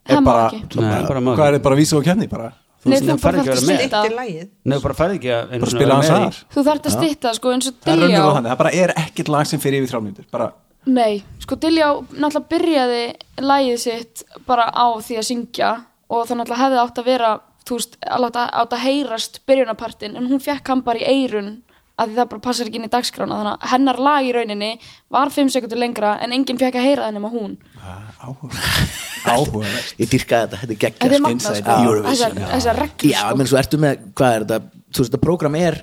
S5: Það
S3: er
S5: má
S3: bara,
S5: ekki.
S3: svo
S2: Nei,
S3: bara,
S2: bara má
S3: hvað
S2: ekki.
S3: er þetta bara að vísa og kenni bara,
S2: Þú
S5: Nei,
S2: veist,
S5: þú
S2: þú færð ekki að
S5: þarft
S2: vera með
S5: að
S4: eitt er lagið
S2: Nei, þú bara færði ekki að einu
S3: bara
S2: sinni
S3: spila
S2: að
S3: hans
S2: vera með
S3: aðar
S2: í.
S5: þú þarft að stytta sko eins
S3: það er
S5: og Diljá
S3: raunverulega þannig, það bara er ekkert lag sem fyrir yfir þrjá mínútur bara,
S5: Nei, sko Diljá náttúrulega byrjaði lægið sitt bara á því að syngja og það náttúrulega hefði átt að vera þú veist, að láta átt að heyrast byrjunarpartin en hún fekk hann bara í eirun að því það bara passar ekki inn í dagskrána þannig að hennar lag í rauninni var 5 sekundur lengra en enginn fekk að heyra það nema hún
S3: áhuga
S1: Ég dýrka þetta, þetta er
S5: Þetta er
S1: geggjast
S5: magnað
S1: Inside
S5: sko,
S1: Eurovision
S5: þessar- þessar reglur
S1: Já, menn
S5: sko
S1: svo ertu með, hvað er þetta þú veist, þetta program er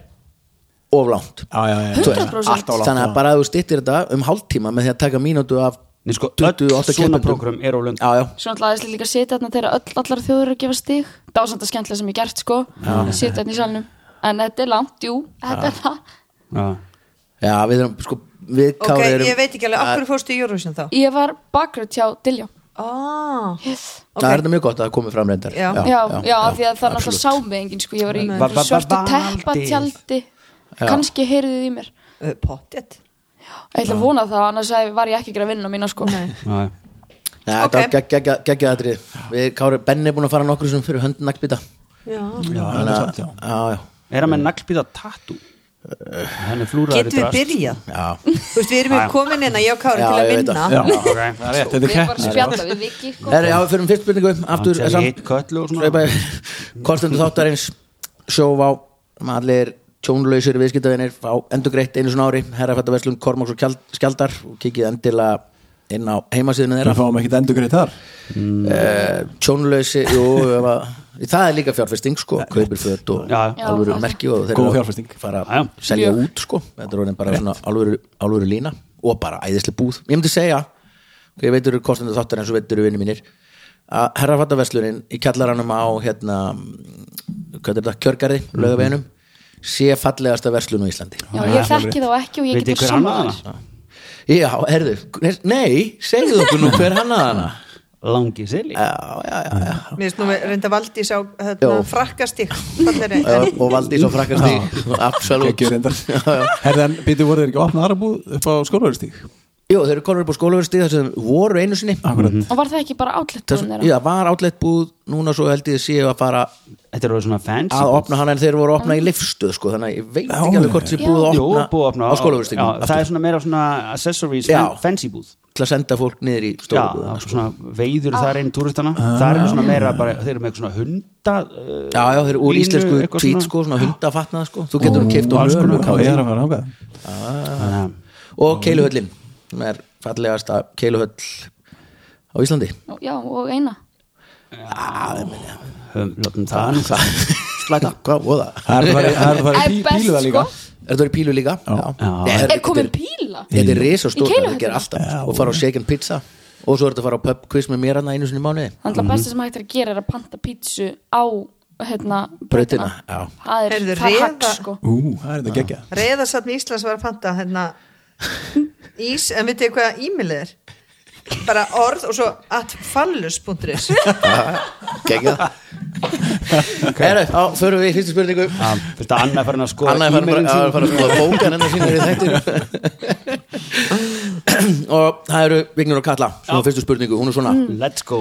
S1: oflánt
S3: áhuga
S5: 100%
S3: Allt á langt,
S1: Þannig að
S3: já.
S1: bara að þú styttir þetta um hálftíma með því að taka mínútu af
S2: Nei, sko, öll
S1: 28
S2: svona
S1: keppendum.
S2: prógram er of löng.
S1: Já, já,
S5: Svo náttúrulega aðeinslega líka að sitja þarna þegar öll, allar þjóður að gefa stig Það var samt að skemmtilega sem ég gert sko Sitja þarna í salnum En þetta er langt, jú, þetta er það
S2: Já.
S1: já, við erum, sko, við
S4: ok,
S1: Kári um- erum
S4: ég veit ekki alveg, af hverju fórstu í Eurovision þá
S5: Ég var bakröð hjá Diljá
S4: ah,
S5: Yes.
S1: Það er þetta mjög gott að það komi fram reyndar
S4: Já.
S5: já, já, af því að það er alltaf
S1: absolutt.
S5: sá mig enginn sko, ég var í
S4: Nei.
S5: einhverju
S2: Va- va-
S5: svörtu
S2: va-
S5: teppa
S2: valdið.
S5: tjaldi kannski heyrið þið í mér
S4: uh, pottet
S5: ég ætla að vona það, annars hefði- var ég ekki að gera vinna mína sko
S2: Já.
S1: Nei, þetta
S4: Ok.
S1: okay. geggja aðri Við Kári Benni er búin að fara nokkru sem fyrir hönd naglbita
S4: getum
S1: Þannig að- Já, já,
S2: er hann með naglbýta tattoo
S1: Eh.
S2: hann er flúraður
S4: við byrjað
S1: já
S4: þú veist, við erum við komin inn að ég og Kári
S1: Já,
S4: til
S1: ég
S4: að
S1: veit
S4: vinna
S1: það.
S2: Já, okay.
S3: það er rétt, þetta er
S5: við erum bara að
S3: keppni
S5: spjalla við Viki sko.
S1: Herri, já, við fyrir um fyrst spurningu Aftur,
S2: Hann
S1: er
S2: sagði
S1: samt
S2: hitt köllu og svona.
S1: Kostendur þáttarins Sjóvá um Allir tjónlausir viðskiptavinir Fá endur greitt einu svona ári Herrafættaverslun, Kormáks og Kjald- Skjaldar Og kikið endilega inn á heimasíðinu
S3: við
S1: þeirra
S3: fáum ekkert endur greið þar
S1: Eh, Tjónlausi, jú ef að- Það er líka fjárfesting, sko Kaupir föt og
S2: Já, já.
S1: alvöru
S5: Já.
S1: merki og þeir eru
S3: Góð
S1: að
S3: fjárfesting.
S1: Fara
S2: Já, já.
S1: að selja
S5: Mjög.
S1: út, sko Þetta er orðin bara svona alvöru, alvöru lína Og bara æðisli búð Ég myndi segja, ok, ég veitur kostendur þáttar En svo veitur vinni mínir Að herrafattaverslunin í kjallaranum á hérna Hvað er þetta, kjörgarði, lögaveginum Sé fallegasta verslun á Íslandi
S5: já, ég þekki þá ekki og ég
S2: veit
S5: get
S2: ég hver
S5: bara
S2: hann
S5: saman
S2: aðan
S1: Já, herðu, nei, segðu okkur nú hver hannaði hana
S2: langi sili
S1: já, já, já, já.
S4: Mér finnst nú reynda Valdís á hérna,
S1: Jó.
S4: frakkastík fallegri,
S1: Já,
S4: en-
S1: og Valdís og frakkast í absolutt
S3: Kekjur
S1: [LAUGHS]
S3: reyndar Herðan, byrju voru þeir ekki að opna aðra búð upp á skólaveristík
S1: Jú, þeir eru konur upp á skólaverðstíð þar sem voru einu sinni
S3: Akkurat
S5: og var það ekki bara
S1: Þess,
S5: átletbúðin
S1: já,
S5: þeirra
S1: var átlegt búð, núna svo held ég að séu að fara
S2: Þetta er alveg svona fancy
S1: að opna hana en þeir voru að opna í lifstuð sko, þannig að ég veit
S3: Já,
S1: ekki alveg hvort þeir
S5: já.
S1: búið að
S2: Jú,
S1: opna,
S2: búið að opna
S1: á skólaverðstíð
S2: Já, Það er svona meira svona accessories
S1: Já.
S2: fancy búð
S1: til að senda fólk niður í sko.
S2: Já,
S1: stóla
S2: það er svona veiður þar inn túristana Það er svona meira bara, þeir eru með eitthvað svona hunda eh,
S1: Ah. Já, já, þeir eru úr
S2: línu,
S1: íslensku
S2: eitthvað svona.
S1: tvít
S2: Mm,
S1: sko, svona hundafatnað sko Þú getur hún keift
S3: Og
S1: og
S3: alls konar
S1: nörn
S3: Já, ég er að fara ákveð
S2: Þannig að-
S1: Og keiluhöllin, sem er fallegasta keiluhöll á Íslandi
S5: Og- já, og eina
S1: Ah,
S2: höfum, látum það nú það
S1: Slæta, [LAUGHS] hvað voða?
S3: Það er að fara- það er að fara í
S5: Er
S3: pí-
S5: best,
S3: pílu það líka
S5: sko.
S1: Er þetta verið pílu líka? Já, Nei, þetta
S5: er komin píla
S1: Þetta er risa
S5: Í
S1: stórt,
S5: Keiluhöllinni?
S1: þetta gerir alltaf sko, Og fara á shaken pizza Og svo er þetta að fara á pub quiz með mér hana einu sinni í mánuði
S5: þannig að besta sem hægt er að gera er að panta pítsu á hérna
S1: Brautina,
S5: brautina.
S1: já
S5: það
S4: Heyrðu,
S5: er það
S4: reða-
S5: hagg sko
S3: Ú,
S5: [LAUGHS]
S3: það er þetta gekkja
S4: Reyðarsatn í Íslands var að panta hérna, ís, en veitir hvað e-mailið er? Bara orð og svo atfallus.is
S1: Gekka [LAUGHS] Herru, þá förum við í fyrstu spurningu
S2: Það Ah, fyrst að Anna er farin að skoða
S1: Anna er farin bara-
S2: e-mailin
S1: að
S2: sín.
S1: fara að skoða hérna bókan hennar sínur í þættir [LAUGHS] Og það eru Vignur og Kalla Svona fyrstu spurningu, hún er svona
S5: Mm.
S2: Let's go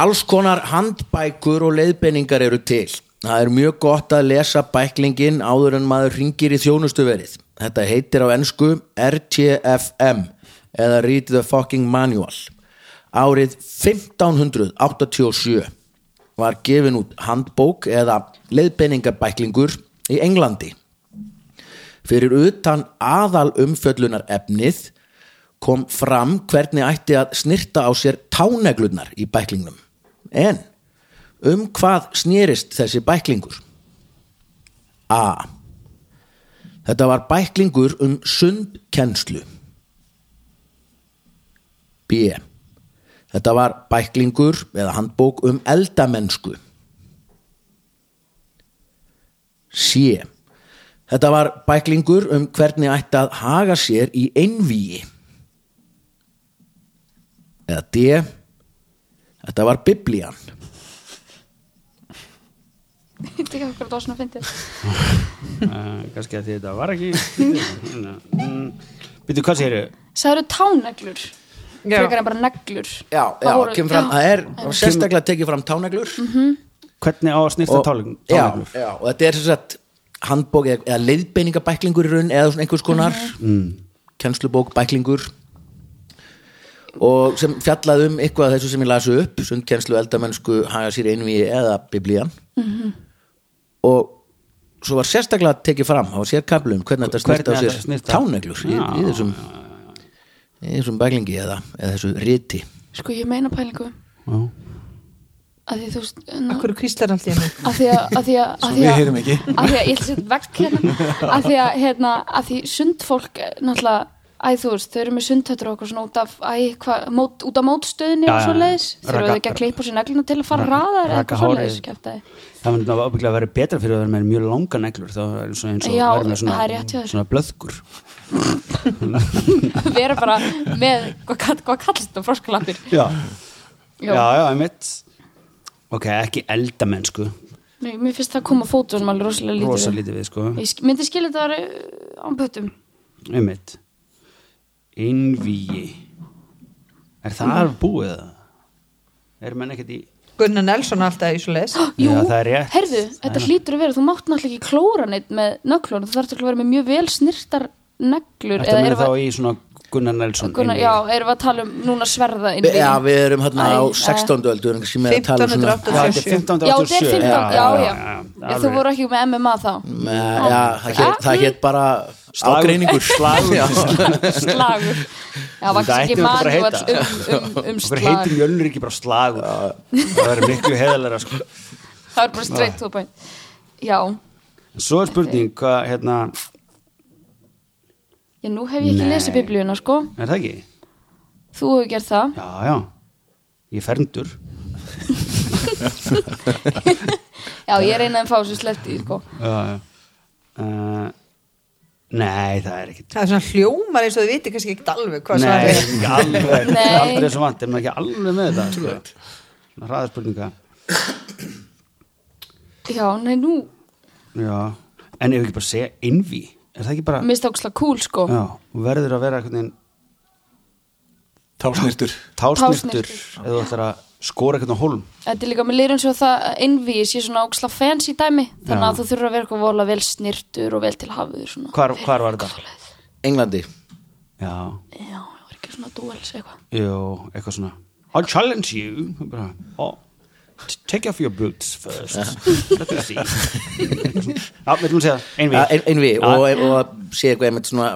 S1: Alls konar handbækur og leiðbeiningar eru til Það er mjög gott að lesa bæklingin áður en maður ringir í þjónustuverið Þetta heitir á ensku RTFM eða Read the Fucking Manual Árið 1587 var gefin út handbók eða leiðbeiningabæklingur í Englandi Fyrir utan aðal umfjöllunar efnið kom fram hvernig ætti að snirta á sér táneglunar í bæklingnum. En um hvað snýrist þessi bæklingur? A. Þetta var bæklingur um sundkennslu. B. Þetta var bæklingur eða handbók um eldamennsku. C. Þetta var bæklingur um hvernig ætti að haga sér í einvíi. Eða D. Þetta var biblían.
S5: ég veit ekki okkur að það var svona fyndið
S2: uh, Kannski að því þetta var ekki [LAUGHS] Býttu, Mm, hvað séru?
S5: sagður táneglur
S4: Já.
S5: frekar en bara neglur
S1: Já, já,
S5: Það voru-
S1: kemur fram,
S5: já.
S1: það er sérstaklega tekið fram táneglur
S2: Hvernig á að snýrta tálegn?
S1: já, já, og þetta er sem sagt handbók eða, eða leiðbeiningabæklingur í raun eða svona einhvers konar mm. kennslubók, bæklingur og sem fjallaði um eitthvað af þessu sem ég lasi upp sundkennslu, eldamennsku, haga sér einví eða biblían og svo var sérstaklega tekið fram á sérkablum hvernig þetta
S2: Hvernig
S1: snýrta á
S2: þetta
S1: sér
S2: snýrta?
S1: táneglur í, í,
S2: Já,
S1: þessum, í þessum bæklingi eða, eða þessu riti
S5: sko ég meina pælingu að því þú veist hérna,
S4: Akkur kvíslar allt í henni
S5: að því að að því
S1: [LAUGHS]
S5: að, að, því
S3: Við
S5: að,
S3: heyrum ekki
S5: að því að ég ætla að setja vekk hérna að því að hérna að því sundfólk eh, náttúrulega æ þú veist þau eru með sundhættur og okkur svona út af æ hva, mót, út af mótstöðinni
S2: Já,
S5: og
S2: já,
S5: svo leiðis
S2: já.
S5: þau eru
S2: Raka-
S5: ekki að klippa sér neglina til að fara
S2: Raka-
S5: raðar eða
S2: raka
S5: eitthvað svo leiðis
S2: hárið. Það myndi náttúrulega ábygglega að vera betra fyrir að vera með mjög langan neglur þá er eins og eins og
S5: Já,
S2: vera með svona,
S5: það er rétt hjá þér.
S2: svona blöðkur
S5: [LAUGHS] vera bara með hvað, kall- hvað kallast þetta froskalappir
S2: Já,
S5: Já.
S2: já, já, einmitt Ok, ekki eldamennsku
S5: Nei, mér finnst það að koma fótunum alveg rosalega lítið
S2: rosa
S5: við.
S2: lítið við, sko
S5: Ég sk- myndi skilja þetta væri, uh, án pöttum
S2: Einmitt Einvíi Er það alveg búið það? Er menn ekkert í
S4: Gunnar Nelson alltaf í svo leis
S5: Jú,
S2: Já, það er rétt.
S5: heyrðu, þetta
S2: Það er-
S5: hlýtur að vera þú mátt náttúrulega ekki klóra neitt með nöglun þú þarf að vera með mjög vel snirtar neglur
S2: Þetta meina
S5: erum
S2: þá
S5: við,
S2: í svona Gunnar Nelson
S5: Gunnar,
S2: einvígi.
S5: já, erum við að tala um núna sverða inn
S1: Já, við erum hérna á
S5: Æ,
S1: 16. öld við erum kannski með að tala um svona
S4: 1587.
S2: Já, þetta er 1587
S1: um
S5: Já, þetta er 15, já, já, já, Þú
S2: alveg.
S5: voru ekki með MMA þá
S1: Nei, Já, það hét, það
S5: mm,
S1: hét bara
S2: Slagur-
S1: ágreiningur
S2: [LAUGHS] slagur.
S1: Já.
S5: Um Slagur Já,
S2: Þetta
S5: var kannski
S2: ætti
S5: ekki
S2: þetta bara að
S5: manual
S2: heita.
S5: um, um,
S2: [LAUGHS]
S5: um
S2: Okkur
S5: slag
S2: heitir Mjölnir ekki bara slagur Það er miklu heðalega sko.
S5: Það er bara straight to the point Já,
S2: Svo er spurning hvað hérna
S5: já nú hef ég ekki
S2: Nei.
S5: lesið biblíuna sko
S2: Er það ekki?
S5: Þú hefur gert það
S2: Já, já Ég er ferndur
S5: Já, ég reynaði að fá þessu sleppt í sko
S2: Já, já uh, Nei, það er ekkit
S4: það er svona hljómar eins og þið viti kannski ekkert alveg hvað
S2: Nei,
S4: svarið
S3: [LAUGHS]
S4: er
S2: ekki alveg,
S5: Nei.
S2: aldrei svo vant er maður ekki alveg með þetta sko. hraðarspurninga
S5: já, nei nú,
S2: já. en ef ekki bara segja envy er það ekki bara
S5: mist áksla cool sko
S2: já, þú verður að vera einhvern veginn
S3: Tásnirtur
S2: tásnirtur
S5: Tásnyrtur.
S2: eða þú ætlar að skora einhvern á hólm
S5: Þetta er líka, mér lýr eins og það innvíi sé svona óksla fancy dæmi þannig
S2: Já.
S5: að þú þurfur að vera eitthvað vola vel snirtur og vel til hafiður svona
S2: hvar, hvar var þetta?
S1: Englandi
S2: já,
S5: Já, það var ekki svona duels eitthvað
S2: jú, eitthvað svona I'll challenge you bara, oh, t- take off your boots first let me see já, við viljum segja envy
S1: Ja, ein, einvi
S2: Já.
S1: og, og sé eitthvað einmitt svona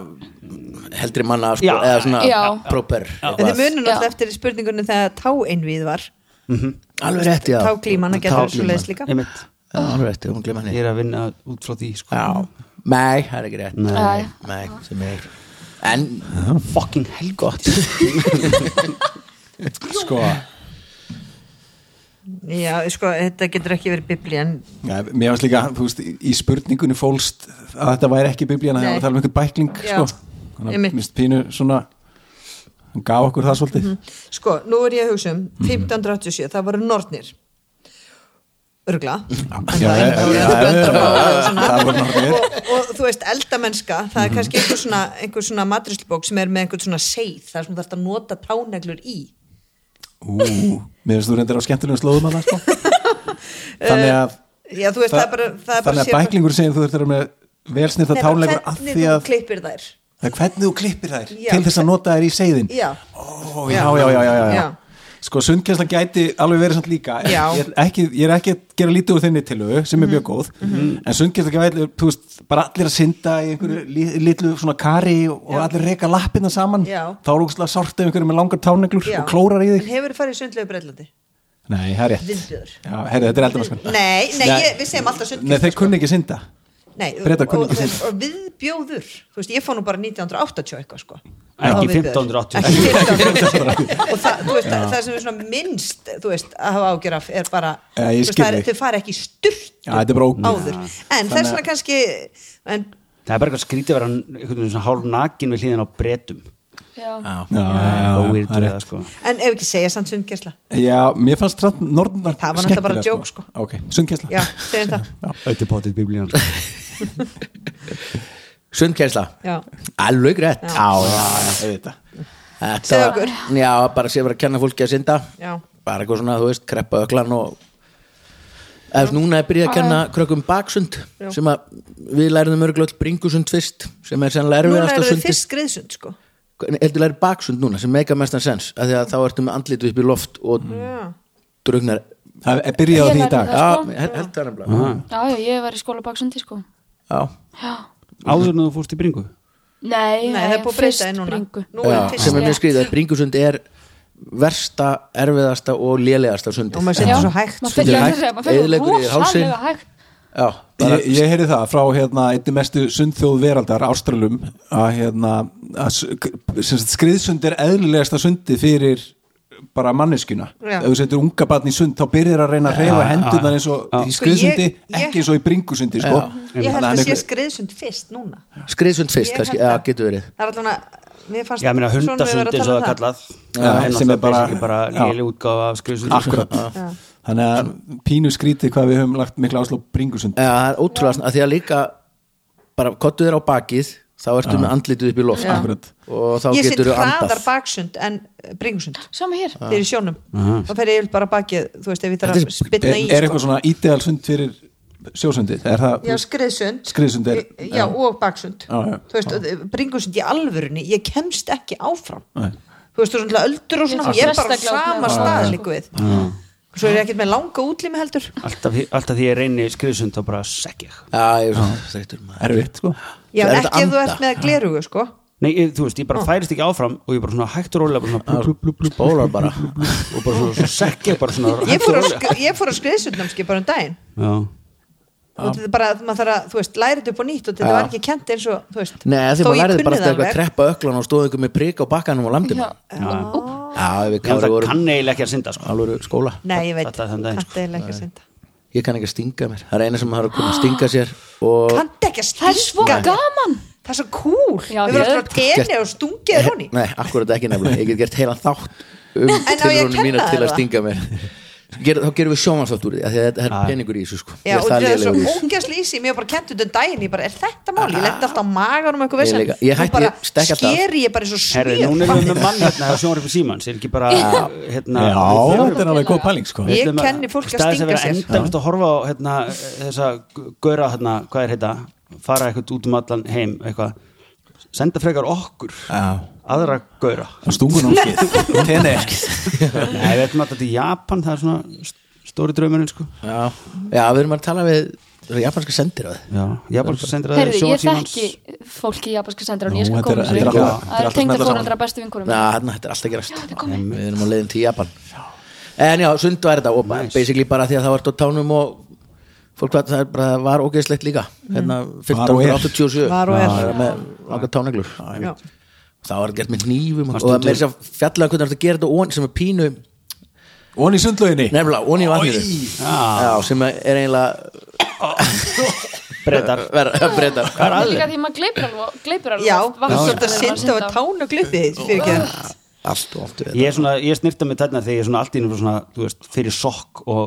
S1: heldri manna sko,
S2: Já.
S1: eða svona
S5: Já.
S1: proper
S4: en þið munum
S5: Já.
S4: náttúrulega eftir spurningunni þegar táeinvið var
S1: alveg rétt já
S4: táglíman að geta
S2: Táglíman.
S4: svo leiðis líka
S2: Einmitt.
S1: Já, alveg rétt, hún glemma
S2: ég
S1: henni
S2: er að vinna út frá því sko.
S1: já, nei, það er ekki rétt
S2: Nei.
S5: Nei.
S1: nei, sem er en
S2: fucking helgott
S3: Sko,
S4: já, sko, þetta getur ekki verið biblí en
S3: ja, mér varst líka, þú veist, í- í spurningunni fólst að þetta væri ekki biblíana
S4: Nei.
S3: það var að tala um einhvern bækling,
S4: Já.
S3: sko Þannig
S4: Einmitt.
S3: að mist pínu svona hann gaf okkur það svolítið
S4: sko, nú er ég að hugsa um
S3: Mhm.
S4: 1587, það voru nornir örgla
S3: Já, já, já, já, já, það voru nornir. Mhm.
S4: og, og þú veist, eldamennska það er kannski einhver svona, einhver svona matristlbók sem er með einhvern svona seið þar sem þú þarf að nota táneglur í Mhm.
S3: Ú, mér finnst þú reyndir á skemmtilegum slóðum að það,
S4: [LAUGHS]
S3: sko Þannig að
S4: já, þú veist, það, er bara, Eh, það er bara
S3: Þannig að
S4: sér-
S3: bæklingur segir þú þurft að vera með
S4: Nei,
S3: velsnýrta
S4: bara
S3: tálegur að
S4: hvernig
S3: því
S4: þú
S3: að
S4: klippir þær
S3: Það er hvernig þú klippir þær
S4: Já.
S3: til þess að nota þær í seiðin
S4: já,
S3: Ó, já, já, já, já, já.
S4: Já.
S3: Sko, sundkjenslan gæti alveg verið samt líka
S4: Já. Mhm.
S3: ég, er ekki, ég er ekki að gera lítið úr þinni tilögu sem er mjög góð en sundkjenslan gæti, þú veist, bara allir að synda í einhverju li- litlu svona kari og
S4: Mhm. Já.
S3: allir reka lappina saman
S4: Já.
S3: þá er úkslega sárt ef einhverju með langar táneglur
S4: já.
S3: og klórar í
S4: En
S3: þig
S4: hefur farið í sundlegu brellandi
S3: Nei, það er rétt
S4: Vindbjörður
S3: Já, herri, þetta er eldamaskan
S4: Nei, nei, ég, við segjum alltaf
S3: Nei, þeir
S4: sundkjenslan
S3: kunni ekki synda
S4: Nei,
S3: Bretar kunna
S4: og,
S3: ekki
S4: og, og viðbjóður Þú veist, ég fór nú bara 1980 eitthvað sko
S2: Ekki
S4: Á viðbjóður.
S2: 1580.
S4: [LAUGHS] Ekki 1580 Og það, þú veist, það, það sem er svona minnst Þú veist, að hafa ágjör af er bara
S3: Já, ég
S4: þú veist,
S3: skil
S4: það er-
S3: þig.
S4: Þau fara ekki sturt
S3: Já, þetta er bara ógn
S4: áður En
S3: Þannig
S4: þess
S3: að-
S4: vegna kannski en,
S2: það er bara eitthvað skrítið að vera einhvern veginn svona hálf nakin við hliðin á bretum
S5: Já,
S1: já,
S3: Já, já,
S2: og
S3: já,
S2: weird
S3: það er
S2: við
S3: rétt.
S2: það sko
S4: en ef ekki segja samt sundkjensla
S3: Já, mér fannst trátt norðnar
S4: Það var náttúrulega bara joke, sko.
S3: Ok, sundkjensla
S4: Já, segjum það
S2: Þetta er potið biblíun
S3: sko.
S2: Þetta
S1: sundkjensla,
S4: Já,
S1: alveg rétt já, já,
S3: Þetta
S1: þetta
S4: Segðu
S1: var já, bara sé verið að kenna fólki að synda
S4: já
S1: bara eitthvað svona, þú veist, kreppa öklan og ef núna er byrjað að kenna krökkum baksund
S4: Já.
S1: sem að við læriðum örglöld bringusund fyrst sem er sennilega
S4: Núna
S1: erfiðast að
S4: eru þau
S1: sundi
S4: fyrst skriðsund sko
S1: heldur læri baksund núna sem meika mestan sens af því að þá ertu með andlitu upp í loft og
S4: Já,
S1: drugnar
S3: Það er byrjað á
S5: Ég
S3: því í
S5: lærði
S1: já,
S3: dag
S5: það. sko.
S1: hel- heldur það nefnilega
S5: já, já ég var í skóla baksundi sko
S1: já,
S5: Já,
S2: Áður en þú fórst í bringu
S5: nei,
S4: nei, það er búið að
S5: fyrst
S4: breyta þér núna
S5: bringu
S4: Nú er
S1: já,
S4: fyrst
S1: sem er mjög skrýðið bringusund er versta, erfiðasta og lélegasta sundi
S4: Og maður
S5: Já,
S4: setur svo hægt sko.
S5: maður fyrir
S1: Sundið
S5: að
S1: hægt,
S5: segja, maður fyrir
S1: eyðileggur í þér hálsinn.
S5: rosalega hægt
S1: já, bara,
S3: Ég, ég heyri það frá hérna einni mestu sundþjóð veraldar, Ástralum að hérna að, s- k- sem sagt, skriðsund er eðlilegasta sundi fyrir bara manneskuna
S4: Já.
S3: ef þú setur unga barn í sund þá byrjar að reyna að reyfa hendurnar eins og í
S4: Sko, ég-
S3: skriðsundi
S4: ég-
S3: ekki eins og í bringusundi sko.
S4: Ég held
S3: Þannig
S4: að
S3: hann
S4: sé
S3: einhver-
S4: skriðsund fyrst núna
S1: skriðsund fyrst
S4: Ég
S1: kannski,
S4: held að-
S1: já, getur verið
S4: Það er allan að Mér fannst
S2: Já, meina
S4: sonur minn vera
S2: hundasund
S4: að
S2: eins og
S4: tala
S2: það
S4: um
S2: er kallað
S3: Já,
S2: Það er
S3: sem er
S2: náttúrulega
S3: bara-
S2: basically bara
S3: já.
S2: léli útgáfa af skrifsund
S3: akkurat þannig að pínu skrítið hvað við höfum lagt mikla áslá bringusund
S1: Já, það er ótrúlega, að því að líka bara kottu þér á bakið þá ertu með andlitið upp í loft
S4: Já.
S3: Akkurat.
S1: og þá
S4: Ég sitt
S1: getur þú
S4: hraðar
S1: andað
S4: baksund en eh, bringusund
S5: Sama hér,
S4: Þeir í sjónum Þá fer ég bara bakið, þú veist, ef ég þarf
S1: Þetta
S4: að spytna
S3: er, er
S4: í sko.
S3: eitthvað svona ídeal sund fyrir sjósundið er það,
S4: Já, skriðsund
S3: Skriðsund er-
S4: Í- Já, og baksund
S3: Já, já.
S4: Þú veist, bringusund í alvörunni Ég kemst ekki áfram
S3: Nei.
S4: Þú veist, þú er svona öldur og svona
S5: Ég
S4: Ég
S5: er
S4: er bara á
S5: sérstaklega
S4: sama
S5: út með
S4: stað
S5: það.
S4: líku við Svo er ég ekkert með langa útlimi heldur
S2: Alltaf alltaf því ég reyni skrifsund þá bara sekk ég
S1: Já, ég er svona þreyttur maður
S3: erfitt sko
S1: Það
S4: Já,
S1: er þetta
S4: ekki ef þú
S1: anda.
S4: ert með glerugu, sko
S2: Nei, ég, þú veist, ég bara færist ekki áfram og ég bara svona hægt og rólega bara svona blub, blub, blub, blub,
S1: Bólar bara
S2: og bara svona, svona sekk ég bara svona
S4: [LAUGHS] Ég
S2: hægt og
S4: fór á,
S2: rólega
S4: sk- ég fór á skriðsundnámski bara um daginn
S2: Já,
S4: og þetta er bara að maður þarf að, þú veist, læra þetta upp á nýtt og þetta var ekki kent eins og, þú veist
S1: Nei, því
S4: þó
S1: maður
S4: ég
S1: lærið bara
S4: kunni það
S1: alltaf eitthvað að
S4: alveg.
S1: kreppa öklan og stóðu ykkur með prik á bakkanum og landum
S5: já,
S1: Já, já
S2: ég
S1: við
S2: held
S1: kári
S2: að
S1: vorum
S2: kann eiginlega ekki að synda sko
S1: alveg skóla
S4: Nei, ég veit,
S2: Þetta er þann daginn,
S4: kannti eiginlega
S1: sko.
S4: ekki að synda
S1: Ég kann ekki að stinga mér Það er eina sem maður þarf að kunna að stinga sér og
S4: Kannti ekki að
S5: það er svo
S4: stinga
S5: gaman
S4: það er svo cool
S5: Já,
S4: við verðum
S5: geðveikt.
S4: alltaf tenni og stungið er honi
S1: Nei, akkurat ekki nefnilega, ég get gert heilan
S4: [LAUGHS]
S1: þátt um
S4: ég að
S1: tilraunum
S4: kenna
S1: mína
S4: þér
S1: til að
S4: það?
S1: stinga mér Ger, þá gerum við sjómansátt úr því af því að þetta er peningur í þessu sko
S4: Já,
S1: Ég
S4: og
S1: það
S4: það er svo
S1: lélegur í þessu.
S4: ógæsli í sig, mér var bara kent út um daginn, ég bara, er þetta mál? Ég lendi alltaf á maganum eitthvað
S1: Ég
S4: vissan,
S1: líka. Ég hætti-
S4: bara
S1: ég stekk alltaf.
S4: skeri ég bara eins og
S2: Herri,
S4: smjör.
S2: núna erum
S3: [LAUGHS]
S2: við með mann hérna á sjónvarpi símans, er ekki bara hérna,
S3: Já, þetta er alveg góð pæling sko
S4: Ég kenni fólk að stinga
S2: sér
S4: sér.
S2: endalist að horfa á hérna, þessa gu- gaura hérna, hvað er hérna fara eitthvað út um allan heim eitthvað, senda frekar okkur
S3: Já.
S2: aðra gaura
S4: [LAUGHS]
S3: Stungunámskið Tenni
S2: Nei, við ætlum alltaf til Japan, það er svona st- stóri draumurinn sko
S1: Já, já, við erum að tala við það er japanska sendir á þið
S2: Já, Japan sem sendir að
S5: Herðu, ég
S2: sjónvarsímans
S5: þekki fólki í japanska sendirann,
S3: Nú,
S5: ég skal
S3: þetta er-
S5: koma
S3: þetta er
S5: þessu.
S3: allt- þetta er
S5: Það
S3: allt
S5: er tengda
S3: smelta saman.
S5: fóreldra bestu vinkurum.
S1: Já, þarna, þetta er alltaf gerast Við erum á leiðin til Japan En já, sund var þetta og bara- basically bara því að það var á tánum og fólk var, það er bara, var ógeðslegt líka hérna
S3: Var og er.
S1: 1587
S4: Var og er.
S1: Já, með langar táneglur
S4: Já.
S1: Það var gert með nýfum
S2: Það
S1: og og það
S2: stendur-
S1: meira sér fjallega um hvernig þetta gera þetta ofan- sem er pínu
S3: Von í sundlauginni
S1: Nefnilega, onni í vatninu
S2: Já.
S1: Já, sem er eiginlega
S2: breytar
S1: verða breyta
S2: Hvað er
S5: Það er
S2: aðeins?
S5: líka því maður gleipir alveg, gleipir alveg
S4: [LAUGHS] Já,
S5: oft
S4: það er
S5: vatnsföllin
S4: svolítið að
S5: þegar maður
S4: synda
S5: synda.
S4: og tána glöppið þitt fyrir ekki.
S1: Allt og oft við
S2: Ég, er svona, ég snirta mig tætna þegar ég svona allt í innum svona, þú veist, fyrir sokk og,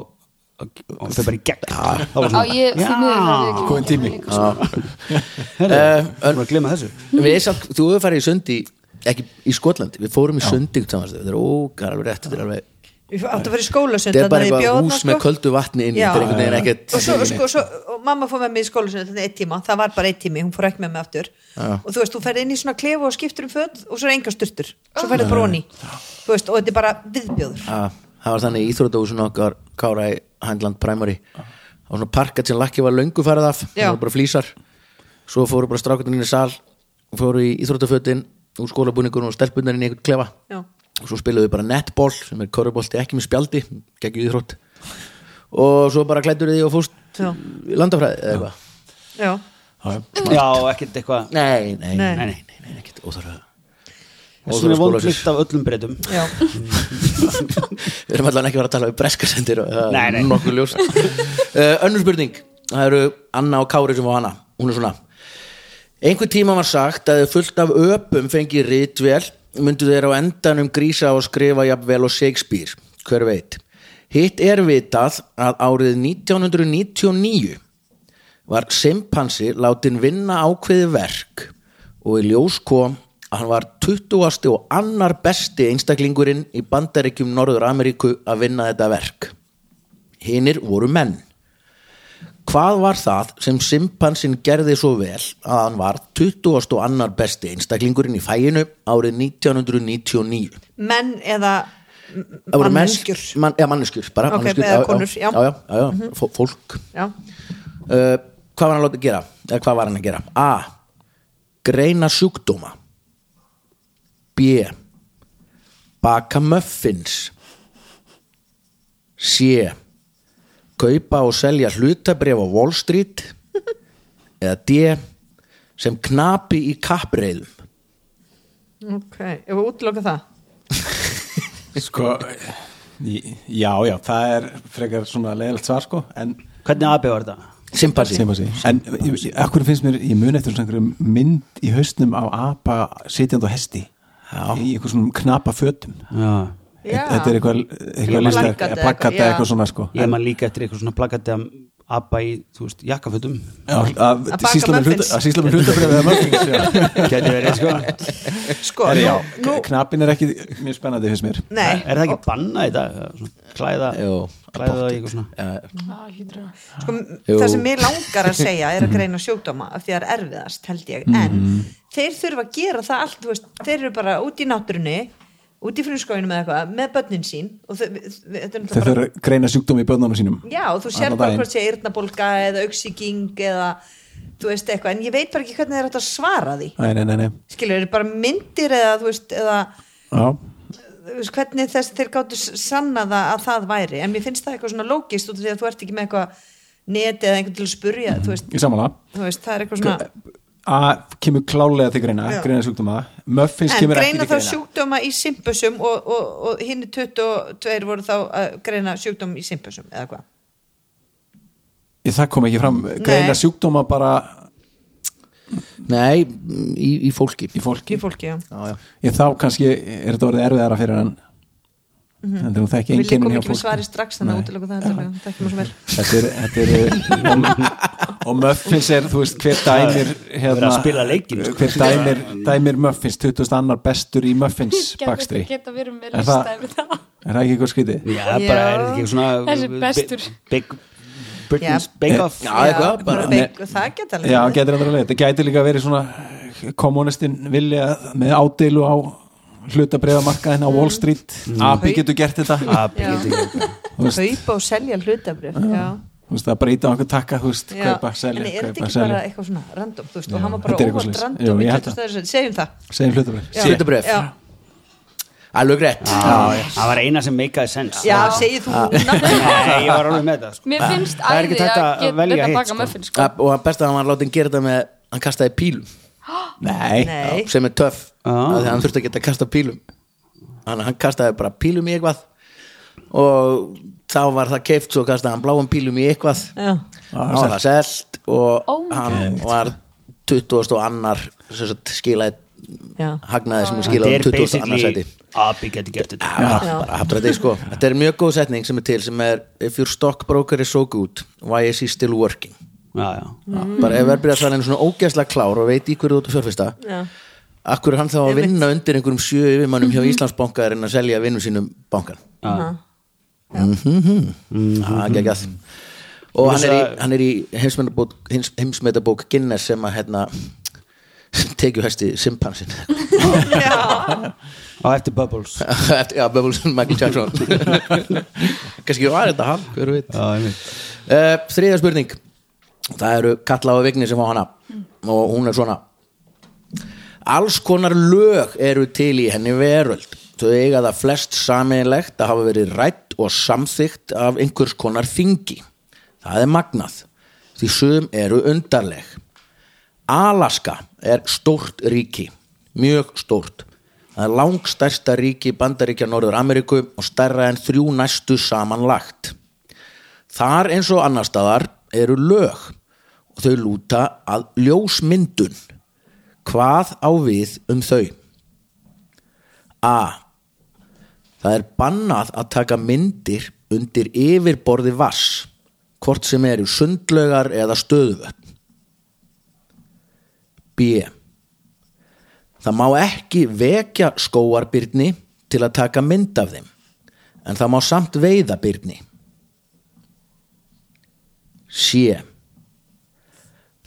S2: og, og þau bara í gegn Já,
S5: Já, ég, því miður það er
S3: Góðin tími
S2: Herri,
S1: Eh,
S2: uh, að glema þessu
S1: þetta Við samt, þú hefur farið í sundi ekki í Skotlandi, við fórum í sundi saman, þetta er ógar alveg rétt þetta er, alveg,
S4: Við áttum að fara Hérna í skólasund
S1: þetta er bara
S4: þannig að ég bjó
S1: eitthvað
S4: þarna,
S1: hús með
S4: sko.
S1: köldu vatni inn í,
S4: Já.
S1: þetta er einhvern veginn ekkert
S4: og svo, og sko, svo, og mamma fór með mig í skólasund þetta er eitt tíma, það var bara eitt tími, hún fór ekki með mig aftur og þú veist, þú ferð inn í svona klefa og skiptur um föt og svo er enga styrtur svo ferði bróni, þú veist, og þetta er bara viðbjóður
S1: Já, það var þannig í Íþrótahúsinu okkar Kára í Handland Primary og svona parkat sem lakki var löngu farið af það
S4: Já.
S1: voru bara flýsar svo fóru bara strákunin í sal og fóru í Íþrótafötin úr skólabúningunum og stelpunarinn í einhvern klefa
S4: Já.
S1: og svo spiluðu bara netball sem er korrubolti ekki með spjaldi, geggjum íþrótt og svo bara klættur þið og fórst
S4: Já.
S1: í landafræði eða eitthvað
S4: já,
S2: Já, ekkert eitthvað
S1: nei, nei,
S4: Nei.
S1: nei, nei, nei, nei ekkert óþarfa
S2: Þessum er
S1: Óþarfa skólasins.
S2: vondlikt af öllum breytum
S4: já,
S1: [LAUGHS] Við erum allan ekki að vera að tala um breskasendir og það
S2: Nei,
S1: er
S2: nei.
S1: nokkuð
S2: [LAUGHS]
S1: ljóst uh, Önnur spurning, það eru Anna og Kári sem var hana, hún er svona Einhvern tíma var sagt að ef fullt af öpum fengið ritvel myndu þeir á endanum grísa á að skrifa jafnvel og Shakespeare, hver veit Hitt er vitað að árið 1999 var simpansi látin vinna ákveði verk og í ljós kom að hann var 20. og annar besti einstaklingurinn í bandaríkjum Norður Ameríku að vinna þetta verk. Hinir voru menn. Hvað var það sem simpansin gerði svo vel að hann var 20. og annar besti einstaklingurinn í fæinu árið 1999?
S4: menn eða
S1: Það voru menn-
S4: manneskjur
S1: Man, já, manneskjur, bara
S4: Ok,
S1: manneskjur.
S4: eða konur, já. Mhm.
S1: Já, já, já, já fó- fólk.
S4: já,
S1: Uh, hvað var hann að láta gera? Eða hvað var hann að gera? A. Greina sjúkdóma B. Baka muffins C. Kaupa og selja hlutabrif á Wall Street eða D. sem knapi í kappreiðum
S4: ok, ef við útloka það
S3: Sko í- Já, já, það er frekar svona leiðilegt svar sko En
S2: Hvernig AB var þetta?
S1: Simpansi
S3: Sem að sé. En akkur finnst mér, ég mun eftir svona einhverjum mynd í haustnum á apa sitjandi á hesti
S1: Já.
S3: í einhver svona knapa fötum
S2: Já
S4: Já.
S3: Þetta er eitthvað,
S4: Svona
S3: eitthvað listar,
S4: plakat eða
S3: plakata
S4: eitthvað,
S3: eitthvað
S4: já.
S3: svona sko
S2: Ég man líka eftir eitthvað svona plakati að AB í, þú veist, jakkafötum
S3: Já, að
S4: baka
S3: sýsla með
S4: muffins.
S3: hluta- að sýsla með hlutabrið eða muffins já.
S2: Gæti verið, sko
S4: sko,
S3: Herri,
S4: nú,
S3: já,
S4: nú
S3: knapin er ekki mjög spennandi finnst mér
S4: nei,
S2: Er það ekki bannað í dag? Svona Klæða,
S1: Jú,
S2: klæða
S1: pottit.
S2: það í eitthvað svona
S1: Uh,
S5: Já, hlýtur að-
S4: sko,
S1: Jú.
S4: það sem mér langar að segja er að greina sjúkdóma af því það er erfiðast held ég, en þeir þurfa að gera það allt, þú veist, þeir eru bara út í náttúrunni út í frumskóinu með eitthvað, með börnin sín og þau, þetta er
S3: Þeir
S4: náttúrulega
S3: þurfa að greina sjúkdómi í börnunum sínum
S4: bara já, og þú
S3: Allan
S4: sér bara
S3: daginn.
S4: hvort sé eyrnabólga eða auksíking eða þú veist eitthvað, en ég veit bara ekki hvernig þeir ætti að svara því
S3: Nei, nei, nei, nei
S4: skilur, eru bara myndir eða þú veist, eða
S3: Já,
S4: þú veist, hvernig þess þeir gáttu sannaða að það væri, en mér finnst það eitthvað svona lógist út af því að þú ert ekki með eitthvað neti eða einhvern til að spurja, þú veist
S3: ég samanlega
S4: þú veist, það er eitthvað svona
S3: Sko, A kemur klálega til greina,
S4: Já.
S3: greina sjúkdóma Muffins
S4: en
S3: kemur ekki
S4: greina
S3: til
S4: þá
S3: greina
S4: sjúkdóma í simpusum og, og, og hinn 22 voru þá að greina sjúkdóma í simpusum eða hvað
S3: Ég, Það kom ekki fram, greina
S4: Nei.
S3: sjúkdóma bara
S1: Nei, í, í fólki
S3: í fólki
S4: í fólki, já
S1: Já, já.
S3: ég þá kannski er þetta orðið erfiðara fyrir hann þannig að hún þekki
S4: Við
S3: einkennin
S4: líkum
S3: hjá
S4: Mhm. ekki með
S3: fólki.
S4: svari strax þannig
S3: Nei.
S4: að útlöku það heldur við, þekkum við svo vel
S3: þetta er, þetta er og, og Muffins er, þú veist, hver dæmir hérna,
S2: Verið að spila leikinn, sko.
S3: hver dæmir, dæmir Muffins 20. annar bestur í Muffins bakstri
S5: Geta- geta verið með
S3: Er það-
S5: listæmi það
S3: er það ekki eitthvað skrítið?
S2: Já, bara er þetta ekki svona
S5: Þessi bestur.
S2: Big, Britain's
S4: Já.
S2: Bake Off
S1: Já, eitthvað, bara-
S4: bara beik- Það geta alveg
S3: Já,
S4: verið.
S3: getur andra leið, þetta gæti líka verið svona kommunistinn vilja með ádeilu á hlutabreiðamarkaðin
S4: Mm.
S3: á Wall Street
S2: Mm.
S3: Abi getur gert þetta
S2: Ah, big-
S3: þú veist,
S4: kaupa og selja hlutabrif
S3: þú veist, að breyta okkur takka, þú veist, kaupa,
S4: en
S3: selja,
S4: er þetta
S3: kaupa,
S4: ekki bara
S3: selja
S4: eitthvað svona random þú veist,
S3: Já,
S4: og hann var
S3: þetta
S4: bara
S3: er eitthvað
S4: óvart
S3: svoleiðis. Jú,
S4: random
S3: ég
S4: í
S3: held
S4: 20 stöður, segjum það
S3: segjum hlutabreið
S4: Já.
S1: Hlutabréf.
S4: já,
S1: Alveg rétt
S2: Já, já. Það var eina sem meikaði sens
S4: já segir þú
S2: Nei, ég var alveg með það sko.
S5: Mér finnst
S2: Það er ekki
S5: æði
S2: hægt
S5: að
S2: að
S5: geta
S2: velja
S5: að
S2: hitt,
S5: baka
S2: sko.
S5: muffins sko.
S1: Ja, Og hann best að hann var látið að gera þetta með hann kastaði pílum
S3: Nei,
S4: nei,
S1: sem er töff
S2: Já.
S1: ah. þegar hann þurfti að geta að kasta pílum hann, hann kastaði bara pílum í eitthvað og þá var það keift svo kastaði hann bláum pílum í eitthvað
S4: já,
S1: þá var það selt og
S5: Oh my
S1: hann var 20 og annar sagt, skilaði
S4: já
S1: hagnaði sem
S2: Ah. Þetta
S1: skilaði
S2: er
S1: 20 og annar
S2: basically
S1: seti
S2: Abbi getur gert þetta
S1: Já, bara aftur að þetta sko Þetta er mjög góð setning sem er til sem er If your stockbroker is so good, why is he still working?
S2: Já, já
S1: Bara ef verðbyrðarsalinn er svona ógæslega klár og veit í hverju þú ert að fjörfesta
S4: Já.
S1: Akkur er hann þá að vinna undir einhverjum sjö yfirmannum hjá Íslandsbanka er en að selja vinnum sínum bankan Það gekk að Og hann er í, hann er í heimsmetabók, heims, heimsmetabók Guinness sem að hérna tekju hæsti simpansin [LAUGHS]
S2: Og eftir Bubbles
S1: Já, Böbulsson, Michael Jackson Kannski var þetta hann, hver veit
S2: Já, ég veit
S1: Uh, þriðja spurning það eru Katla og Vigni sem fá hana og hún er svona alls konar lög eru til í henni veröld þau eiga það flest sameinlegt að hafa verið rætt og samþygt af einhvers konar þingi það er magnað því sum eru undarleg Alaska er stórt ríki mjög stórt það er langstærsta ríki bandaríkja Norður Ameríku og stærra en þrjú næstu samanlagt Þar eins og annar staðar eru lög og þau lúta að ljósmyndun. Hvað á við um þau? A. Það er bannað að taka myndir undir yfirborði vass, hvort sem eru sundlaugar eða stöðuvötn. B. Það má ekki vekja skóarbyrni til að taka mynd af þeim, en það má samt veiða byrni. C.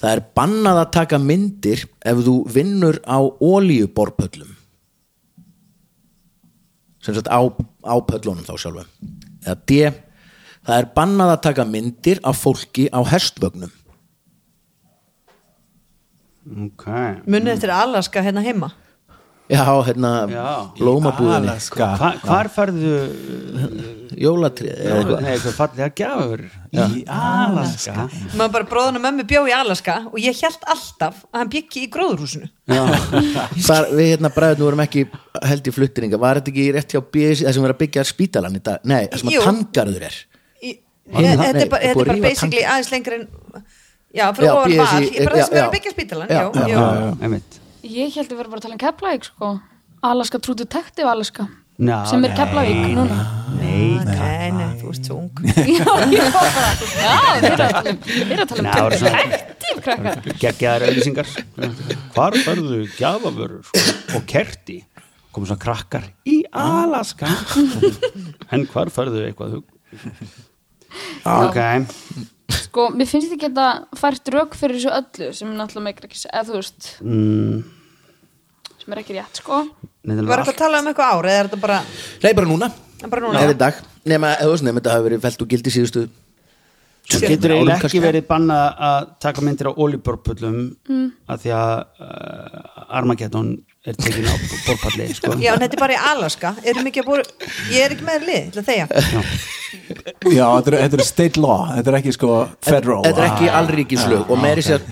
S1: Það er bannað að taka myndir ef þú vinnur á olíuborpöllum sem sagt á, á pöllunum þá sjálfum eða D. Það er bannað að taka myndir af fólki á hestvögnum
S2: Ok
S4: munið eftir Alaska hérna heima
S1: Já, hérna,
S2: Já.
S1: lómabúðinni
S3: Alaska
S2: Hva, Hvar færðu
S1: Jólatrið eða eitthvað
S2: Nei, hvað fallið að gjafur Í Alaska
S4: maður bara bróðan og mömmu bjó í Alaska og ég held alltaf að hann byggi í gróðurhúsinu
S1: [LAUGHS] Þar, Við hérna bræðinu vorum ekki held í fluttininga Var þetta ekki rétt hjá BSI það sem er að byggja spítalan í dag? Nei, það sem
S4: Jú.
S1: að tangarður er
S4: Í-
S1: Nei,
S4: Nei,
S1: nei,
S4: þetta er bara,
S1: það er búið
S4: þetta er
S1: að
S4: bara
S1: rífa
S4: basically
S1: tankinn.
S4: aðeins lengur en já, frá
S1: Já,
S4: ofan
S1: BSI,
S4: var, ég
S1: já,
S4: bara það sem er
S1: já.
S4: að byggja spítalan
S1: Já,
S4: já,
S1: já,
S4: já,
S2: Ég veit
S5: Ég held að við erum bara að tala um Keflavík sko. Alaska True Detective Alaska
S2: Ná,
S5: sem er Keflavík núna
S2: [LAUGHS]
S4: Nei, nei, nei, þú ert svo
S1: [LAUGHS]
S4: ung
S5: Já, ég var bara, já, við erum að tala um við erum að
S2: Ná,
S5: tala
S2: það er
S5: um
S2: svona-
S5: Detective krakka
S2: geggjaðar auðlýsingar hvar færðu gjafavörur sko? og kerti komu svona krakkar í Alaska en hvar færðu eitthvað hug ok
S5: Sko, mér finnst þetta geta fært rauk fyrir þessu öllu sem er náttúrulega meikir ekki, eða þú veist
S2: mm,
S5: sem er ekki rétt, sko
S2: neðan
S4: Var þetta að tala um eitthvað ár eða er þetta bara,
S1: Nei, bara núna
S4: bara núna?
S1: Eða í dag Nefna, eða þú veist, nefna þetta hafi verið felt úr gildi síðustu
S2: svo getur eiginlega ekki verið bannað að taka myndir á olíborpullum mm. að því að uh, Armageddon er tekin á borpalli sko.
S4: Já, en þetta er bara í Alaska Erum ekki að búið, ég er ekki með þér lið ætla að þegja.
S3: Já, þetta er- þetta er state law, þetta er ekki sko federal
S1: Þetta er
S3: law
S1: ekki
S2: Ah,
S1: allríkislög og meiri sér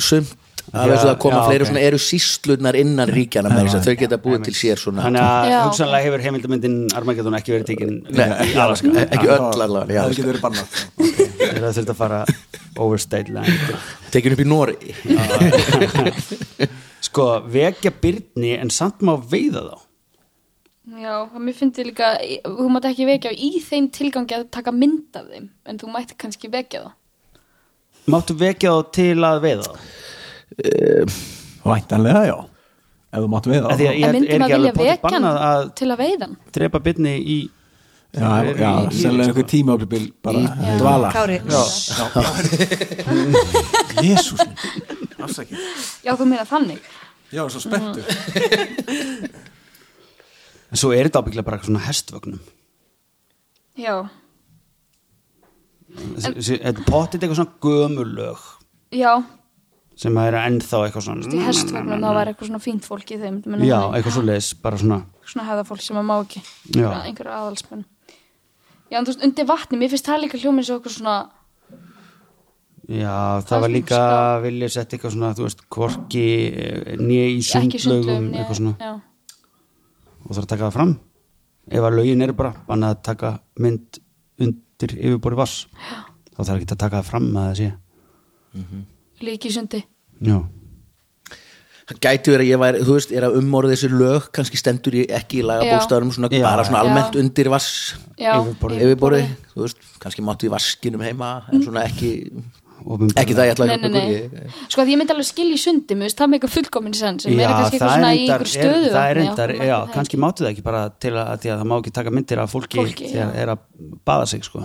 S1: sumt að þessu að koma
S2: Já,
S1: fleiri
S2: ok.
S1: svona eru sístlunar innan ríkjana meiri sér, þau geta búið til sér svona
S2: þannig að
S5: Já, ok.
S2: hugsanlega hefur heimildamyndin Armageddon ekki verið tekin
S1: Nei,
S2: í Alaska
S1: ekki öll allavega
S3: Það
S1: já.
S3: getur verið bannað
S2: þeir eru að þurft að fara overstate line
S1: tekin upp í Nóri
S2: sko, vekja byrni en samt má veiða þá
S5: Já, og mér fyndi líka, þú mátt ekki vekja í þeim tilgangi að taka mynd af þeim en þú mætti kannski vekja það
S2: máttu vekja þá til að veiða þá
S3: Væntanlega, já Ef þú máttu við
S2: Af
S3: það
S2: því að
S5: En
S2: er-
S5: myndi
S2: er ekki
S5: maður vilja
S2: alveg pottur
S5: vekja hann
S2: bannað að
S5: til að veiða hann
S2: drepa byrni í
S3: Já, já,
S2: í- í-
S3: sennilega einhver tímaöflibil bara
S1: í dvala
S4: Kári,
S3: Jésús
S5: Já, þú meina þannig
S3: [LAUGHS] Já, svo spenntu
S2: en svo er þetta ábygglega bara svona hestvögnum
S5: Já,
S2: Þessi- þessi- þetta er pottit eitthvað svona gömulög
S5: já,
S2: sem að er ennþá eitthvað
S5: í
S2: svona
S5: hestvagnar það var eitthvað svona fínt fólk í þeim myndi
S2: Mm. já,
S5: maður-
S2: eitthvað svo leis, bara svona
S5: svona hefða fólk sem að má ekki
S2: Já.
S5: einhverju aðalsmenn já, en þú veist, undir vatni, mér finnst það líka hljómið eins og okkur svona
S2: já, það
S5: Það
S2: var
S5: er
S2: líka
S5: svona-
S2: viljið sett eitthvað svona, þú veist, korki nýja í
S5: ekki sundlögum
S2: sundlögum
S5: né-
S2: eitthvað svona,
S5: já,
S2: og þarf að taka það fram ef að lögin eru bara bannað að taka mynd undir yfirborði vass þá þarf ekki að taka það fram að það sé
S5: líki í sundi
S2: já,
S1: það gæti verið að ég væri, þú veist, er að umorða þessi lög kannski stendur ég ekki í lagabókstafum svona,
S2: Já.
S1: bara svona
S5: Já.
S1: almennt undir vass
S5: já,
S2: Yfirborðið.
S1: yfirborði, þú veist, kannski máttu í vaskinum heima, en svona ekki
S2: Opinberlega.
S1: ekki það ég ætla
S5: nei,
S1: að
S5: nei, nei sko að ég myndi alveg skilja í sundi mér finnst það með eitthvað fullkomin sens sem
S2: já
S5: er kannski eitthvað svona í einhver
S2: er,
S5: stöðu
S2: það er endar, já, kannski mátu það ekki bara til að, að, að það má ekki taka myndir af fólki,
S5: Fólki,
S2: þegar
S5: já.
S2: er að baða sig sko,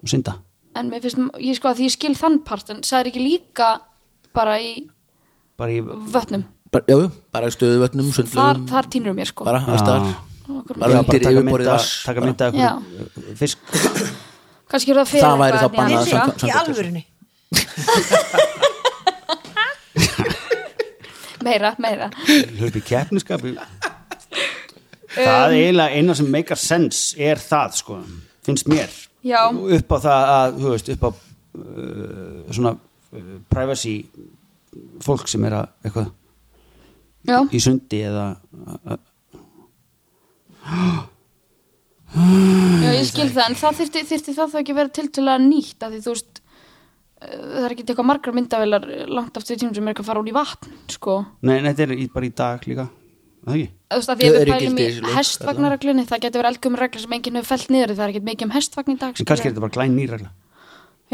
S2: og synda
S5: en mér finnst, ég sko að því ég skil þann part en það er ekki líka bara í
S2: bara í,
S5: vötnum
S1: bara, já, bara í stöðuvötnum,
S5: þar,
S1: sundlögum
S5: þar týnur mér sko
S1: bara, alls staðar
S5: Okkur-
S1: bara
S2: Já, bara
S1: undir
S2: taka
S1: yfirborði
S2: mynda-
S1: vass
S2: taka mynda af
S5: Já.
S2: einhverjum, uh, [LAUGHS] fisk
S5: kannski eru það fyrir
S1: Það væri þá
S5: eitthvað hérna.
S1: bannað
S5: en ég-
S1: samkvæmt-
S4: í alvörunni
S5: meira, meira
S2: hlupi keppniskapi
S5: Uh, Um.
S2: það er eiginlega eina sem make a sense er það sko, finnst mér
S5: Já.
S2: upp á það að, þú veist, upp á uh, svona uh, privacy fólk sem er að eitthvað
S5: já,
S2: í sundi eða uh,
S5: Já, ég skil það, en það þyrfti, þyrfti það þá ekki að vera tiltölulega nýtt af því þú veist eh, það er ekki eitthvað margar myndavélar eh, langt aftur í tímum sem er ekki að fara út í vatn sko,
S2: nei, nei, þetta er í, bara í dag líka Er það ekki?
S5: þú veist
S1: Þau
S5: að því að við
S1: eru
S5: pælum
S1: gildi
S5: í
S1: í þessu lög,
S5: hestvagnarreglunni það getur verið elgum regla sem enginn hefur felt niður það er ekki mikið um hestvagn í
S2: en
S5: dag skilur.
S2: kannski er þetta bara glæn nýrægla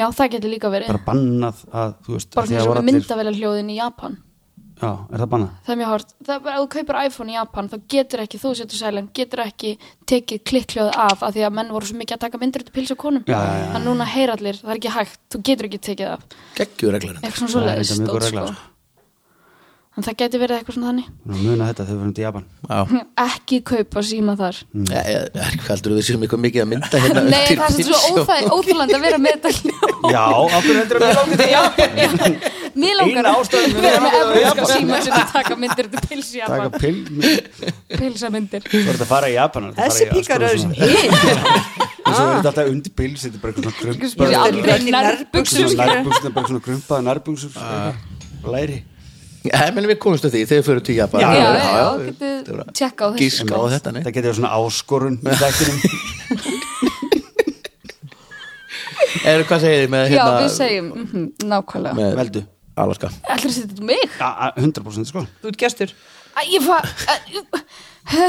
S5: já, það getur líka verið,
S2: bara bannað að, þú veist
S5: bara
S2: því
S5: svona
S2: að
S5: svo
S2: voru
S5: með myndavélar hljóðin í Japan
S2: já, er það bannað?
S5: það er mjög hort, það er bara, ef þú kaupir iPhone í Japan þá getur ekki, þú setur sælum, getur ekki tekið klikkljóð af, af því að menn voru svo mikið að taka myndir út í pils og konum
S2: Já, já, já.
S5: þannig að núna heyra allir, það er ekki hægt, þú getur ekki tekið af
S1: geggjur reglar
S5: eitthvað svona
S2: það er
S5: svoleiðis
S2: þetta mjög góð
S5: dót,
S2: regla
S5: sko.
S2: sko.
S5: en það gæti verið eitthvað svona þannig
S2: Nú, muna þetta þegar við erum til Japan
S1: já
S5: ekki kaupa síma þar
S2: Mm.
S1: heldur við séum eitthvað mikið að mynda hérna
S5: nei
S1: undir
S5: það er svo
S1: bílsjó.
S5: óþæg, óþægland að vera með þetta hljóð
S2: já, okkur heldur [LAUGHS] að við langar til Japan
S5: mér
S2: Eina
S5: langar
S2: ástæðan
S5: að
S2: fyrir
S5: vera
S2: að
S5: með
S2: vera í
S5: evrópska
S2: Japan.
S5: síma sem að taka myndir til pils í
S2: taka
S5: Japan
S2: pill þú
S5: pilsa myndir
S2: ert að fara í Japan þú ert að
S4: þessi
S2: fara í
S4: píkar
S2: alls
S4: öðru
S2: konar svona-
S4: sem hinn
S2: og svo er þetta alltaf undir pill þetta er bara eitthvað svona
S5: Ég er
S2: krumpaðar-
S4: alveg-
S5: alveg um nærbuksum
S2: svona
S5: skilur.
S2: nærbuxur, bara svona krumpaða nærbuksur Ah. læri
S1: Já, ég meina við komumst að því þegar við förum til Japan
S2: Já,
S5: já,
S1: já,
S5: já,
S1: já, þetta
S5: getið
S1: var-
S5: tjekka á þessu
S1: gíska á þetta nei.
S2: það getur verið svona áskorun í þættinum [LAUGHS]
S1: er, hvað segir þið með
S5: já,
S1: hérna
S5: við segjum, mhm, nákvæmlega
S1: með
S2: veldu
S1: Alaska
S5: ætlar að setja þetta mig?
S2: A- a- 100% sko
S4: [LAUGHS] þú ert gestur
S5: Æ, ég fa Æ,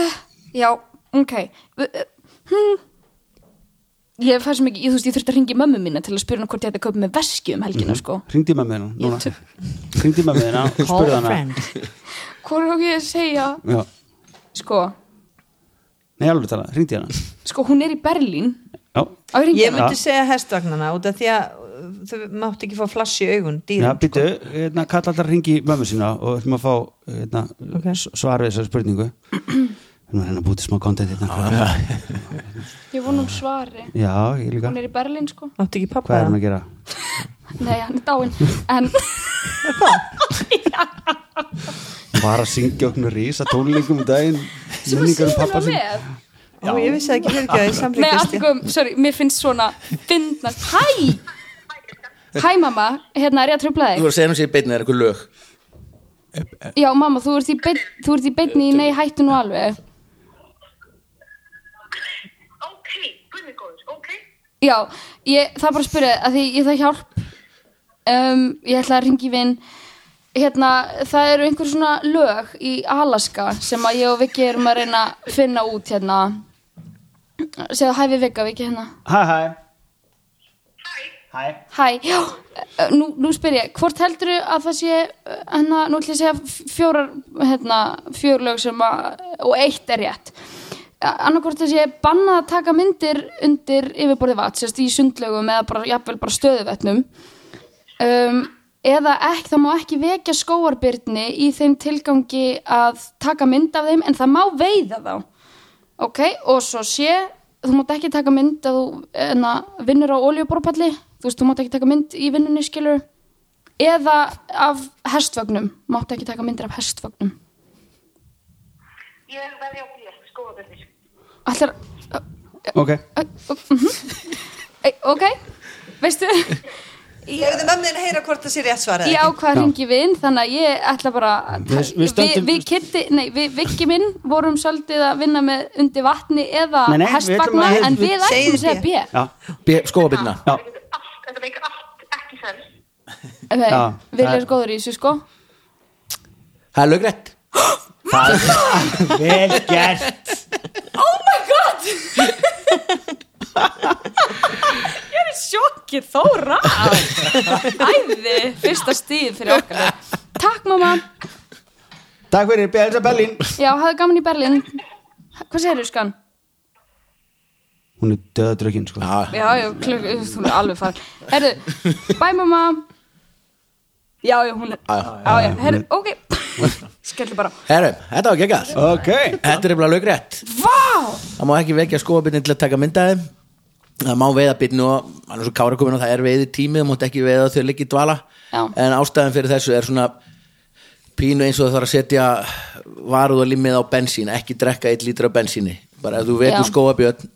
S5: já, ok Við- hmm. ég fæ svo mikið, ég, þú veist, ég þurfti að ringi mömmu mína til að spyrja hana hvort ég ætti að kaupa með veski um
S1: Mhm.
S5: helgina, sko
S2: hringdi í mammiðina núna
S5: Ég
S2: hringdi í mammiðina og
S4: call
S2: spurði
S4: a
S2: hana
S4: friend
S5: Hvor er ég að segja,
S2: Já.
S5: sko
S2: nei alveg tala, hringdi í hana
S5: sko, hún er í Berlín
S2: já,
S5: á ég ringi
S4: ég
S5: hana
S4: myndi segja hestvagnana út af því að uh, þau máttu ekki fá flass í augun
S2: já
S4: dýrin
S2: býtu, hérna, kalla alltaf hringi í mömmu sína og ætlum að fá hérna,
S4: Ok.
S2: okay. svar við þessari spurningu hérna er hérna búið til smá content hérna.
S5: ég vona hún svari,
S2: já, ég líka
S5: hún er í Berlín, sko
S4: máttu ekki pappa
S2: hvað er
S4: það
S2: hún að gera?
S5: nei, hann er dáinn, en
S2: bara að syngja okkur rísa tónlingum um daginn
S5: sem að
S2: minningar um
S5: síðan
S2: pappa
S5: er
S2: sinn
S5: með
S4: Ó, ég vissi það ekki fyrirgjöði
S5: Nei, allt
S4: samfélgisti
S5: ykkur, sorry, mér finnst svona fyndnast, hæ hæ mamma, hérna er ég að tröfla
S1: þú
S5: þig
S1: voru að segja um sér beinni er eitthvað lög
S5: já mamma, þú ert í, beinn, þú ert í beinni í nei hættu nú alveg
S6: Ok, guðmigóður, ok
S5: já, ég, það er bara að spyrja þig, að því ég það hjálp um, ég ætla að ringi vinn hérna, það eru einhver svona lög í Alaska sem að ég og Viki erum að reyna að finna út hérna segðu hæ við Vika, Viki hérna
S2: Hæ, hæ Hæ
S5: Hæ, já, eh, nú, nú spyr ég, hvort heldur að það sé, eh, hérna, nú ætlum ég að segja f- fjórar, hérna, fjórlög sem að, og eitt er rétt. Annarkvort þess ég bannað að taka myndir undir yfirborði vatn, sérst í sundlögum eða bara, jafnvel bara stöðuvetnum. Um, eða ekki, það má ekki vekja skóarbyrni í þeim tilgangi að taka mynd af þeim, en það má veiða þá. Ok, og svo sé, þú mátt ekki taka mynd að þú enna, vinnur á oljuborpalli, þú veist, þú mátt ekki taka mynd í vinnunni, skilur, eða af hestvögnum, mátt ekki taka myndir af hestvögnum.
S6: Ég vil veðja á þér, skóðabirnir.
S5: Allar,
S2: Ok,
S5: e, ok,
S2: [LAUGHS]
S5: veistu, [LAUGHS]
S4: Ég hefði mömmin að heyra hvort það sé rétt svarað
S5: ég
S4: eða
S5: ákvað að ringi við, inn, þannig að ég ætla bara, að-
S2: Við- við stöndum-
S5: við kitti, nei, við vikki minn vorum svolítið að vinna með undir vatni eða
S2: Nei, nei, við ætlum
S5: hestvagna,
S2: að-
S5: en
S2: við-
S5: við ætlum að segja
S4: Segið
S5: B.
S2: já,
S1: skóabinna
S2: já
S6: Allt, þetta meikir allt ekki sens.
S5: Nei,
S2: Já,
S5: Við
S2: það-
S5: erum góður í þessu, sko.
S1: það er lögrætt
S2: Vel gert
S5: Sjokkið Þóra Æði, fyrsta stíð fyrir okkar Takk mamma
S2: Takk fyrir, beða þess að Berlín
S5: Já, hafðu gaman í Berlín Hvað segir þú skan?
S2: Hún er döðadrökin, sko
S5: Já, já, klukk, þú er alveg far Herðu, bæ mamma Já, já, hún er
S3: Ah,
S5: Já, já, herðu, ok Skellu bara,
S1: herru, þetta var geggjað
S2: Ok
S1: þetta er bara lögrætt
S5: vá
S1: það má ekki vekja skóabinni til að taka myndaði það má veiða bitni og hann er svo kára komin og það er veiði tími það mátt ekki veiða þau liggi í dvala
S5: Já.
S1: en ástæðan fyrir þessu er svona pínu eins og það þarf að setja varuð og limmið á bensín ekki drekka eitt lítra af bensíni bara ef þú
S5: Já.
S1: vekur skóabjörn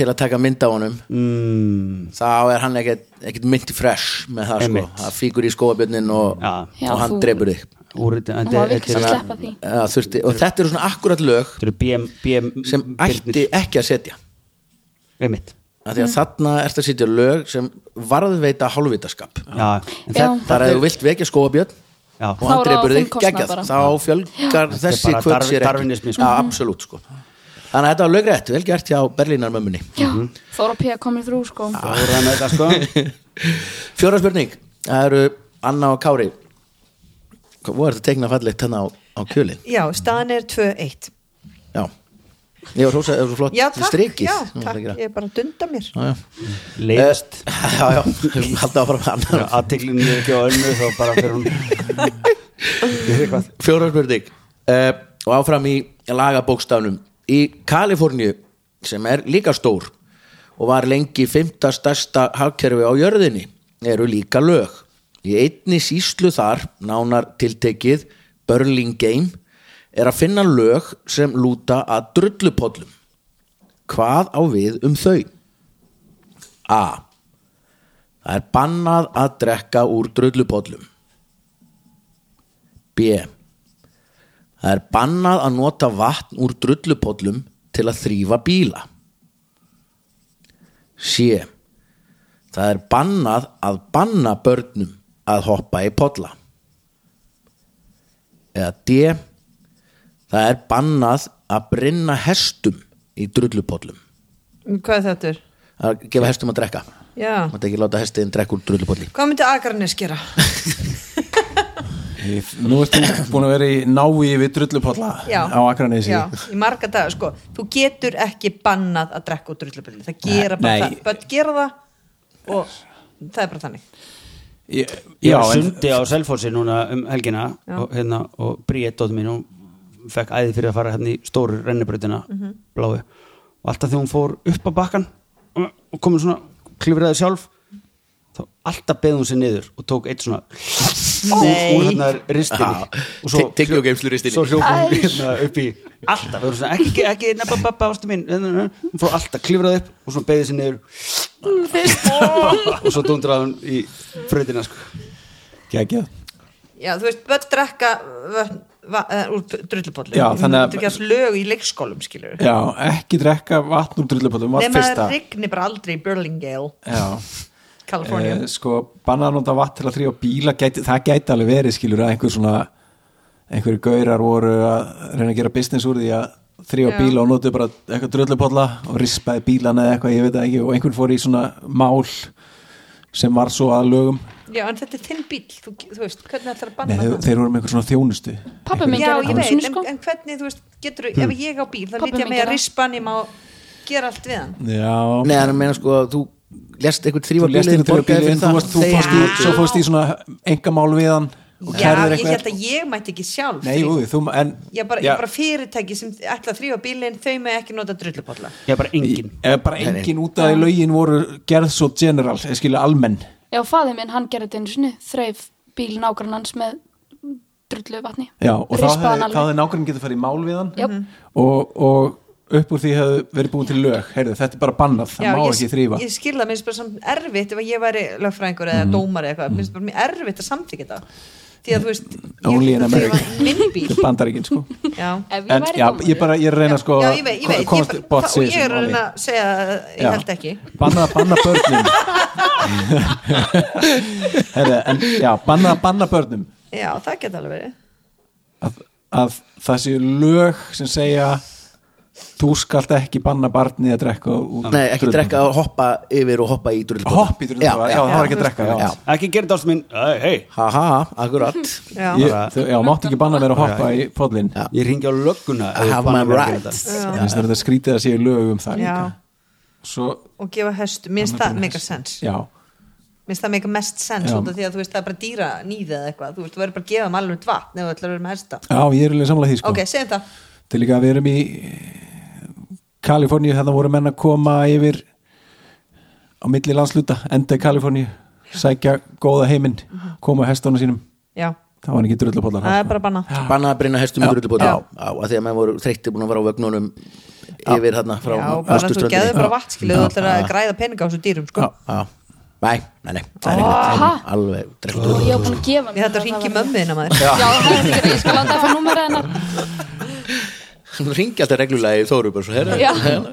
S1: til að taka mynd á honum
S2: mm,
S1: þá er hann ekkert, ekkert myndi fresh með það sko,
S2: Einmitt.
S1: það fíkur í skóabjörnin og,
S2: Já.
S5: Já,
S1: og hann
S5: þú-
S1: drepur þig
S2: úr, þetta-
S5: Hún
S2: Þetta
S5: var vill
S2: þetta
S5: sleppa því
S1: Já, þurfti, og þetta eru svona akkurat lög
S2: þetta eru BM, BM
S1: sem ætti ekki að setja
S2: Einmitt
S1: af því
S5: Mm.
S1: að þarna ert að setja lög sem varðveita hálfvitaskap
S2: Já, en
S5: Já.
S2: það,
S1: þar að þú vilt vekja skóabjörn
S2: já,
S1: og
S5: Þá
S1: hann
S5: er það á
S1: drepur
S5: þinn
S1: þig
S5: kostnað
S1: geggjað,
S5: bara.
S1: þá fjölgar þessi
S2: bara
S1: kvöld
S2: darvi-
S1: sér
S2: darwinismi,
S1: ekki
S2: sko.
S1: já, absolutt sko þannig að þetta var lögrætt, vel gert hjá Berlínarmömmunni [LAUGHS]
S5: Já, Þóra P. komið þrú, sko
S3: Ah.
S2: Þóra með þetta sko
S1: fjóra spurning, það eru Anna og Kári hvað voru þetta teikna fallegt hérna á, á kjölin
S4: Já, staðan er 2-1
S1: já, ég var hrósað, það var svo flott
S4: Já, takk,
S1: strikið
S4: já,
S1: Nú,
S4: takk,
S1: það
S4: ég
S1: ekki
S4: er bara að dunda mér
S1: það. Já, [LAUGHS] já.
S2: Leiðist
S1: Eh, já, já, haldið áfram Anna
S2: Aðteklinu er ekki á önnu þá bara fyrir hún
S1: fjóra spurning uh, og áfram í lagabókstafnum í Kaliforníu sem er líka stór og var lengi fymta stærsta hafkerfi á jörðinni eru líka lög í einni síslu þar nánar tiltekið Burlingame er að finna lög sem lúta að drullupollum hvað á við um þau A það er bannað að drekka úr drullupollum B Það er bannað að nota vatn úr drullupollum til að þrýfa bíla. C. Það er bannað að banna börnum að hoppa í polla. Eða D. Það er bannað að brinna hestum í drullupollum.
S4: Mm, Hvað er þetta?
S1: Það er að gefa hestum að drekka.
S4: Já,
S1: Það er ekki láta hestiðin drekka úr drullupolli.
S4: hvað myndi Akarnes gera?
S3: Nú ert þú búin að vera í návíi við drullupolla
S4: Já.
S3: [LAUGHS] á Akranesi
S4: Já, í marga daga, sko Þú getur ekki bannað að drekka út drullubili Það gera
S3: Nei.
S4: bara það, börn gera það og það er bara þannig
S3: Ég,
S2: Ég var
S3: en,
S2: sundi á Selfossi núna um helgina og, hérna, og Bríett dóttir mín hún fekk æði fyrir að fara hérna í stóru rennibrautina bláu og alltaf þegar hún fór upp á bakkan og komið svona klifraði sjálf þá alltaf beði hún sér niður og tók eitt svona úr, úr hérna ristinni
S1: Ah,
S2: og svo,
S1: te- tyggjógeymsluristinni.
S2: svo hljóf hún hérna upp í alltaf, við vorum svona ekki, ekki, nefn, babba, ástu mín Hérna, hún fór alltaf klifraði upp og svona beðið sér niður [LAUGHS] og svo dundraði hún í fröðina sko
S3: Gekkja
S4: Já, þú veist, börn drekka vötn- va- eh, úr drullupollu
S3: Já, þannig að-
S4: Þú getur gert lög í leikskólum skilur
S3: já, ekki drekka vatn úr drullupöllum var
S4: nema
S3: fyrsta
S4: það rigni bara aldrei í Burlingale,
S3: já,
S4: California
S3: eh, sko, bannað að nota vatn til að þrýja bíla gæti, það gæti alveg verið skilur að einhver svona einhverju gaurar voru að reyna að gera business úr því að þrýja
S4: Já.
S3: bíla og notu bara eitthvað drullupolla og rispaði bílana eða eitthvað, ég veit það ekki og einhvern fór í svona mál sem var svo að lögum
S4: já en þetta er þinn bíl, þú, þú veist hvernig ætlar að
S3: Nei,
S4: banna
S3: þeir,
S4: það
S3: þeir voru með einhver svona þjónustu
S5: Pabbi minn
S4: já
S5: gerir
S4: ég
S5: það
S4: veit,
S5: svona,
S4: en,
S5: sko.
S4: en hvernig þú veist getur,
S3: Hm.
S4: ef ég á bíl þá
S5: Pabbi
S4: lít ég með
S5: minn
S4: að
S5: gerir það.
S4: rispan ég má gera allt við hann
S3: Já,
S1: Nei, en ég meina sko að þú lest eitthvað
S3: þú
S1: þrýfa
S3: lest
S1: bílinn
S3: hérna til
S1: borgaði
S3: bílinn
S1: fyrir
S3: þú,
S1: það
S3: varst, þú
S1: þeir
S3: fórst í,
S1: notuðu.
S3: svo fórst í svona engamál við hann og
S4: já,
S3: kærðir
S4: ég held
S3: eitthvað
S4: að ég mætti ekki sjálf
S3: Nei, jú, þú, en
S4: ég bara, ég bara fyrirtæki sem ætla að þrýfa bílinn þau með ekki nota drullupolla
S2: ég er bara engin
S3: Eða bara
S1: Nei, nei.
S3: engin út af því lögin voru gerð svo general, eða skilja almenn
S5: Já, faði minn, hann gerði þetta einu sinni, þreif bíl nágrannans með drullu vatni.
S3: Já, og þá
S5: Rispaði hann
S3: hefði, þá
S5: alveg.
S3: hefði nákvæmlega getið farið í mál við hann
S5: Jöp.
S4: Mhm.
S3: og, og upp úr því hefði verið búin til lög heyrðu, þetta er bara bannað, það má
S4: ég,
S3: ekki þrýfa
S4: ég skil það, minnst bara samt erfitt ef ég væri lögfræðingur
S3: Mhm.
S4: eða dómar eða eitthvað, minnst bara mjög erfitt að samþykja það því að þú veist,
S3: Only in
S4: ég þurfti að
S3: America.
S4: þrífa minn bíl
S3: Þetta er bandaríkin sko
S4: já,
S5: Ef ég
S3: En
S5: væri
S3: já,
S5: dómari.
S3: ég bara, ég er að reyna sko
S4: já ég veit, ég veit ég,
S3: komast
S4: bara-
S3: botts í
S4: það- og ég
S3: þessu
S4: er að
S3: máli.
S4: reyna að segja að ég
S3: Já.
S4: held ekki
S3: banna, banna
S4: [LAUGHS]
S3: börnum Herre, en, já, banna, banna börnum
S4: já, það geta alveg verið
S3: að, að það séu lög sem segja þú skalt ekki banna barni að drekka út
S1: Nei, ekki drekka að hoppa yfir og hoppa í drullupóta
S3: hopp í drullupöllum, já, já, það var ekki að drekka já.
S1: Já.
S2: ekki gera þetta ástu mín Æ, hei,
S1: Haha, akkurat
S4: já,
S3: Ég, þau- já, mátt ekki banna mér að hoppa í podlinn
S1: Já.
S2: ég ringi á lögguna ef
S1: I
S2: ég
S1: have
S2: banna
S1: my
S2: mér að gera
S1: rights.
S2: þetta.
S3: Mér finnst þetta skrítið að séu lög um það
S4: já.
S3: líka svo,
S4: og gefa höstu, minnst það mega sens
S3: já,
S4: minnst það mega mest sens
S3: Já.
S4: út af því að þú veist það er bara dýra nýðið eða eitthvað, þú veist, þú verður bara að gefa um alveg vatn ef þú ætlar að vera með hesta
S3: já, ég er alveg samlega því sko
S4: ok, segjum það,
S3: til líka að við erum í Kaliforníu, þetta voru menn að koma yfir á milli landsluta, enda í Kaliforníu sækja góða heiminn koma hestónu sínum,
S4: já,
S3: það var ekki sko. drullupollar
S4: það er bara banna
S1: Bannað að brenna hestum í drullupóta
S4: Já.
S1: Já, að því að menn voru þreytti búin að vera á vögnunum yfir þarna frá
S4: Já, bara þú
S1: austurströndinni.
S4: geður bara
S1: Já.
S4: vatn skilu, þú ætlar að græða peninga á þessu dýrum sko.
S1: Já, nei, nei, nei, það er ekki
S5: Aha.
S1: alveg- alveg drekkt úr.
S5: Ég var búin að gefa mér
S4: Ég þetta ringi mömmuðina maður
S5: Já, það er ekki, ég skal láta að fá númerið hennar.
S1: Hún ringi alltaf reglulega í Þóru bara svo, herra,
S5: Já.
S2: Heyrðu,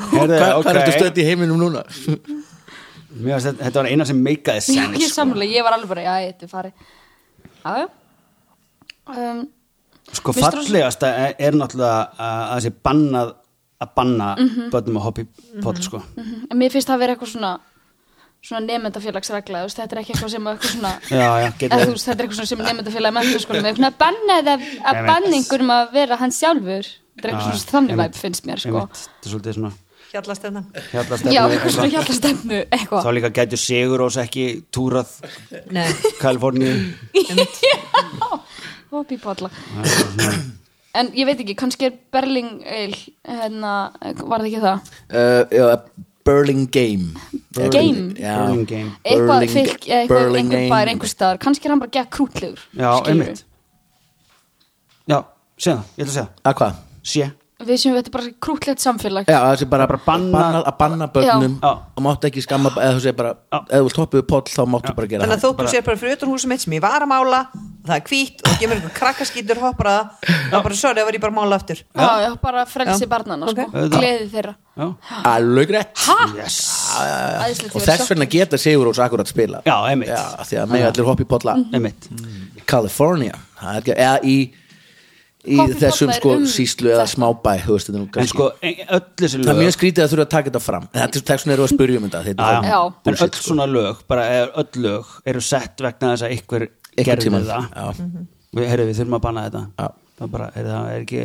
S1: hvað
S2: ok.
S1: okay. er þetta stöð í heiminum núna? [LAUGHS]
S2: Mér varst þetta- þetta var eina sem meikaði sko.
S5: Já,
S2: sens
S5: ég samlega, ég var alveg bara, já, þetta er farið. Já, já. Um,
S2: sko
S5: Mér finnst
S2: fallegasta er, er náttúrulega að að þessi bannað að banna börnum að hoppa í poll sko.
S5: mhm. en mér finnst það að vera eitthvað svona, svona nefndafélagsregla, þú veist, þetta er ekki eitthvað sem eitthvað svona...
S2: já, já,
S5: Eða,
S2: getur
S5: þú veist, þetta er eitthvað svona sem nefndafélagi menntaskólum er svona að banna eða að
S2: Einmitt.
S5: banna einhverjum að vera hann sjálfur þetta er eitthvað svona þannig væp finnst mér sko.
S2: Ah, Einmitt, þetta er svolítið svona
S4: Hjallast þetta
S5: já,
S2: hjallastefnu
S5: eitthvað svona
S2: eitthvað.
S5: hjálpastefnu
S2: þá
S5: eitthvað [LAUGHS]
S2: líka gætu Sigur ós ekki túrað
S4: Nei,
S2: Kaliforníu Ah,
S5: hopp í podla en ég veit ekki, kannski er Berling Eil, hérna, var það ekki það
S1: Uh, já, Burling Game
S5: Game?
S1: já.
S2: Burling Game.
S5: eitthvað
S1: Burling-
S5: fylg, eða eitthvað,
S1: Burling
S5: einhver
S1: Game.
S5: bær, einhver staðar kannski er hann bara að gera krútlegur
S2: já,
S5: skilurðu.
S2: einmitt já, segja það, ég ætla að segja það.
S1: Að Ah, hvað?
S2: sé,
S5: við séum þetta er bara krútlegt samfélag
S1: Já, það sé bara,
S2: Bara banna-
S1: bannað að banna börnum
S2: Já.
S1: og máttu ekki skamma eða þú segir bara,
S2: Já.
S1: eða þú vilt hoppa við poll þá máttu bara gera
S4: þannig að
S1: það
S4: þótt þú sér bara fyrir utan húsum mitt sem ég var að mála og það er hvít og gemur einhver krakkaskítur hoppar að það þá bara sorry, það var ég bara að mála aftur
S5: já, já, bara frelsi
S4: Já.
S5: barnana sko.
S4: Ok.
S2: Auðvitað.
S5: gleði þeirra
S2: já,
S1: Alveg rétt
S5: ha,
S2: yes
S5: æðislegt
S1: Og
S5: ég var
S1: þess vegna geta Sigur Rós akkurat spila
S2: já, einmitt,
S1: Já, því að með allir hoppa í polla
S5: Mhm.
S2: einmitt.
S1: California það er ekki, eða í, í
S5: Hoppa í
S1: þessum
S5: polla er
S1: sko
S5: um
S1: síslu eða smábæ þú veist, þetta er nú
S2: en
S1: kannski-
S2: sko, ein- öll þessi
S1: Það er
S2: lög
S1: mjög skrítið að þurfa að taka þetta fram En Þetta er þess vegna eru að spyrja um þetta þetta
S2: Já,
S1: er
S5: Já.
S2: já.
S1: bara
S2: en
S1: bullshit, sko.
S2: öll svona lög bara er, öll lög eru sett vegna þess að ykkur
S1: Einhvern
S2: gerði
S1: tímann.
S2: það
S1: Já.
S2: við, heyrðu, við þurfum að banna þetta
S1: Já.
S2: það, bara, heyrðu, það er ekki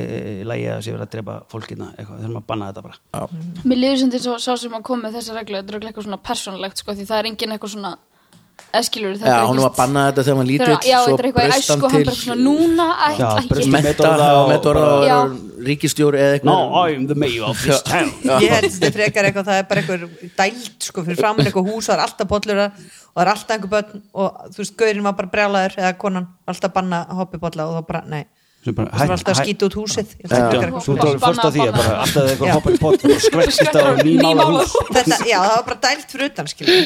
S2: lægi að sé verið að drepa fólkina eitthvað, við þurfum að banna þetta bara
S1: Já.
S5: Mér liður sem til svo, sá sem að koma með þessa reglu þetta er örugglega eitthvað svona persónlegt sko því það er engin eitthvað svona eskilur
S1: Já, hún var bannað þetta þegar maður lítill
S5: Já,
S1: svo
S5: þetta er eitthvað í
S1: braust hann
S5: æsku og hann
S1: til-
S5: bara svona núna
S2: Já,
S5: ætla
S2: braust
S5: ég
S2: hann
S1: metta
S2: Metorða og-
S1: metorða og
S5: Já.
S1: verður ríkistjóri eða
S2: no,
S1: eitthvað
S2: I'm the mayor of
S1: [LAUGHS]
S2: this town
S4: ég held þetta frekar eitthvað, það er bara einhver dælt sko fyrir framan eitthvað hús og það er alltaf bollur að- og það er alltaf einhver börn og þú veist, gaurinn var bara brjálaður eða konan var alltaf að banna að hoppa í bolla og þá bara, nei,
S2: Sem bara,
S4: það var
S2: hætt-
S4: alltaf að
S2: hætt-
S4: skýta út húsið Ég held
S2: Já,
S4: þetta frekar eitthvað
S2: þú
S5: Banna,
S2: tóður fyrst á því að
S5: banna.
S2: bara alltaf þegar
S4: Já.
S2: eitthvað hoppar í pott og skvettist á nýmála hús
S4: Þetta- já, það var bara dælt fyrir utan skilur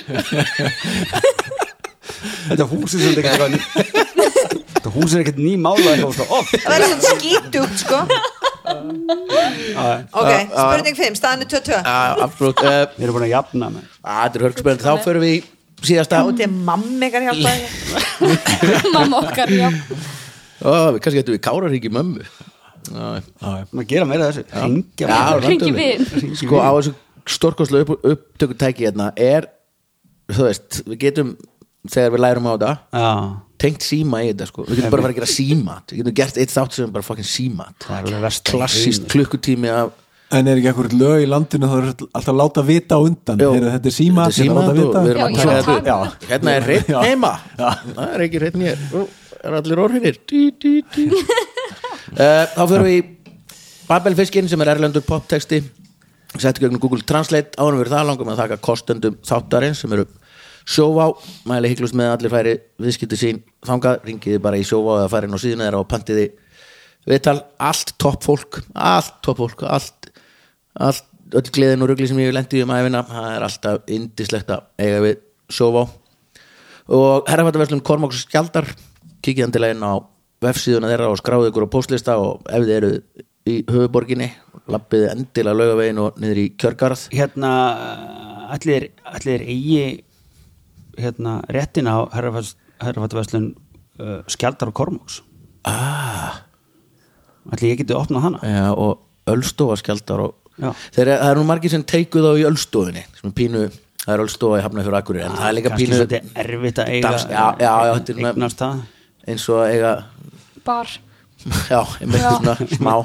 S2: þetta hús er svolítið eitthvað Þetta hús er ekkert nýmálað eitthvað svo oft
S4: það var svona skítugt sko ok, spurning 5, staðan er 22
S1: Absolutt uh,
S2: Við erum búin að jafna með
S1: Ah, Þetta er hörgspennandi, þá förum við í síðasta
S4: og þetta er mamma ykkar hjálpa
S5: [LAUGHS] mamma okkar, já
S1: Ó, við kannski getum við káraríki mömmu Ná,
S2: Maður gera meira af þessu Ringja
S1: Já,
S2: bara.
S5: Hringi
S1: random.
S5: vin.
S1: Sko á þessu stórkoslu upp, upptökutæki hérna er, þú veist, við getum þegar við lærum á þetta
S2: Já,
S1: tengt síma í þetta sko, við getum bara að fara að gera símat við getum gert eitt þátt sem er bara fucking símat
S2: það er alveg verst
S1: klassíst klukkutími af
S3: En er ekki einhver lög í landinu þá er alltaf að láta vita á undan
S1: Jó.
S3: Heyrðu, Þetta er síma,
S1: Þetta er símat
S3: þetta
S1: og
S3: er láta
S1: við
S3: vita
S1: erum að
S5: Já,
S1: taka
S5: ég
S1: þetta upp.
S5: tala um
S1: Já. hérna er hreitt heima það er ekki hreitt mér Ú, er allir orðinir Dí, dí, dí. [LAUGHS] Eh, þá fyrir við í Babelfiskin sem er erlendur poptexti sett gegnum Google Translate árum við það langum að taka kostendum þáttarins sem eru sjóvá mæli hygglust með að allir færi viðskipti sín þangað, ringiði bara í sjóvá eða færin á síðuna þeirra og pantiði viðtal, allt topp fólk allt topp fólk, allt, allt öll gleðin og rugli sem ég hef lendi um æfina það er alltaf indislegt að eiga við sjóvá og herrafættaverslun Kormáks Skjaldar kikið hann til einn á vefsíðuna þeirra og skráðu ykkur á postlista og ef þið eru í höfuborginni lappiði endilega laugavegin og niður í kjörgarð
S2: Hérna, allir, allir eigi hérna, réttin á herrafattuverslun uh, Skjaldar og Kormóks ah. Allir ég geti opnað hana
S1: Já, og Ölstofa Skjaldar og
S2: Já.
S1: þeir, það er nú margir sem teikuð á í Ölstofinni sem er pínu, það er Ölstofa í Hafnafjörð Akurir en það er líka
S2: Kannski
S1: pínu
S2: svolítið erfitt að eiga
S1: Dans- já, já, já, þetta er með-
S2: eignast það
S1: eins og að eiga [LAUGHS]
S5: bar
S1: já, ég meinti
S5: Já.
S1: svona smá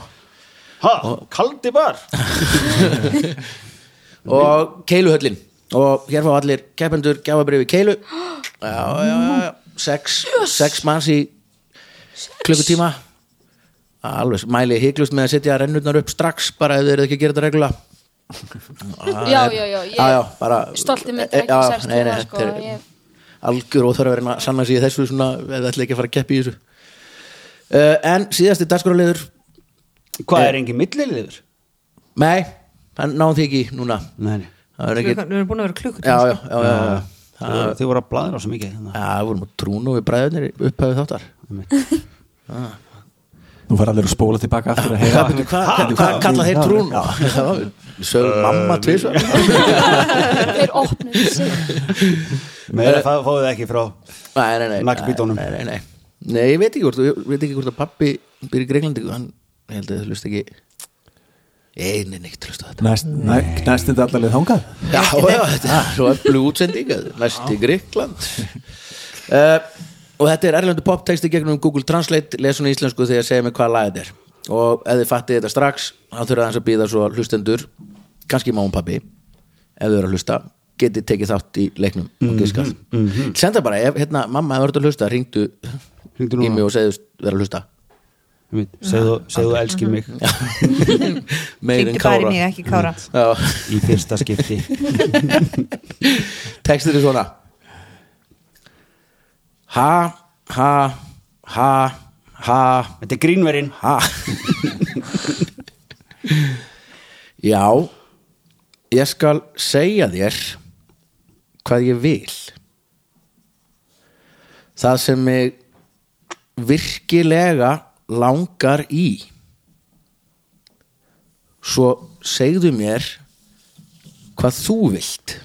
S2: Ha, kaldi bar
S1: [LAUGHS] og keiluhöllin og hér fá allir keppendur gjafabrifi keilu já, já, já, já. sex, sex manns í klukkutíma alveg, mæli hygglust með að setja rennurnar upp strax bara ef þeir eru ekki að gera þetta reglulega
S5: já, já, já, ég
S1: já, já, bara
S5: stolti mitt
S1: E-
S5: er ekki
S1: já,
S5: sérst
S1: nei, nei,
S5: það, sko,
S1: þetta er-
S5: ég,
S1: algjör og þarf að reyna að sanna sig í þessu svona, eða ætla ekki að fara að keppi í þessu uh, en síðasti dagskorulegur
S2: Hvað
S1: Eh.
S2: er engin milliliður?
S1: nei, hann náðum því ekki núna
S2: Nei, nei
S1: það er
S4: við
S1: ekki já,
S4: erum búin að vera klukkur
S1: já, já, já, já. Það,
S2: Þau voru að bladra svo mikið hérna, þannig.
S1: Já, við vorum að trúna við bræðunir upphæðu þáttar Eh.
S3: Nú fara allir að spóla tilbaka aftur að heyra
S1: Hvað byrju, hvað- hvað- hvað kalla þeir trúna? Við sögum mamma tvisvar
S5: þeir opnuðu sig
S2: Meira fá- fáið þið ekki frá
S1: [LAUGHS] Nei, nei, nei
S2: Naglbítunum.
S1: Nei, nei, nei Nei, ég veit ekki hvort, ég veit ekki hvort að pappi byrja í Greiklandi, hann ég held að þau lust ekki Nei, nei, nei, ekki lust á þetta
S3: Næst, næ, næst þetta allarlega þangað
S1: Já, já, þetta er svo öflug útsending að næst í Gríkland uh, og þetta er erlendu poptexti gegnum Google Translate, lesun í íslensku þegar segja mig hvað lagið er og ef þið fattið þetta strax, þá þurfa þess að býða svo hlustendur, kannski máum pappi ef þau eru að hlusta getið tekið þátt í leiknum
S2: Mhm,
S1: og giskað senda bara, ef hérna, mamma hefur verið að hlusta ringdu
S2: Hringdu
S1: í
S2: núna.
S1: mig og segðust vera
S2: [LAUGHS]
S1: að hlusta
S2: Einmitt, Segðu
S1: Ah,
S2: segðu þú elskir
S1: [LAUGHS]
S2: mig
S1: meir en
S4: Hringdu bara í
S1: kára
S4: mig, ekki Kára.
S1: Já.
S2: í fyrsta skipti
S1: Textur er svona Ha, ha, ha, ha,
S2: Þetta er grínverinn
S1: ha Já, ég skal segja þér hvað ég vil Það sem mig virkilega langar í Svo segðu mér hvað þú vilt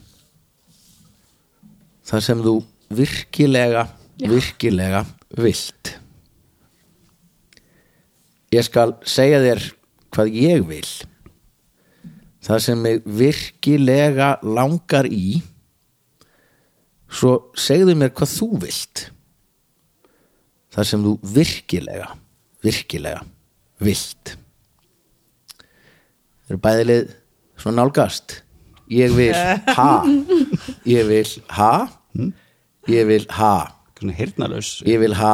S1: þar sem þú virkilega virkilega vilt ég skal segja þér hvað ég vil þar sem mig virkilega langar í svo segðu mér hvað þú vilt þar sem þú virkilega virkilega vilt þeir eru bæðilið svona nálgast ég vil ha ég vil ha ég vil ha
S2: Svona hirnalaus
S1: ég vil ha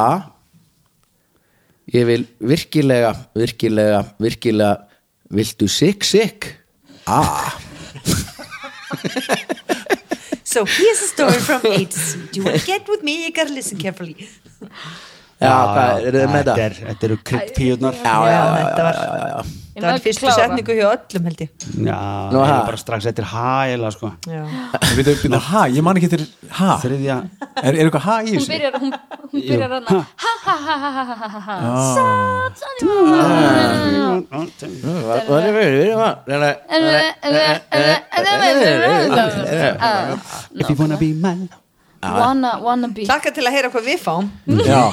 S1: ég vil virkilega virkilega, virkilega viltu sikk, sikk ah
S4: so here's a story from AIDS do you want to get with me, you gotta listen carefully
S1: Já, hvað, eru þið með
S2: þetta?
S1: það?
S2: er- Þetta eru kryddpíurnar Já,
S1: já, já, já,
S4: þetta var,
S1: já, já.
S5: Ég
S4: þetta var
S5: maður
S4: fyrstu
S5: klára.
S4: setningu hjá öllum held ég
S2: það
S1: Nú,
S2: er
S1: ha?
S2: bara strax Þetta er hæla, sko
S4: já.
S3: Við þau byrja, ha, ég man ekki til ha Er,
S2: Þriðja
S3: er eitthvað ha í
S5: hún
S3: þessu?
S5: byrjar hún, hún byrjar hann að ha ha ha ha ha ha ha ha
S1: Hvað- hvað er fyrir- fyrir það? Nei, nei,
S2: If you wanna be man
S5: wanna wanna be
S4: Hlakka til að heyra hvað við fáum
S3: Já,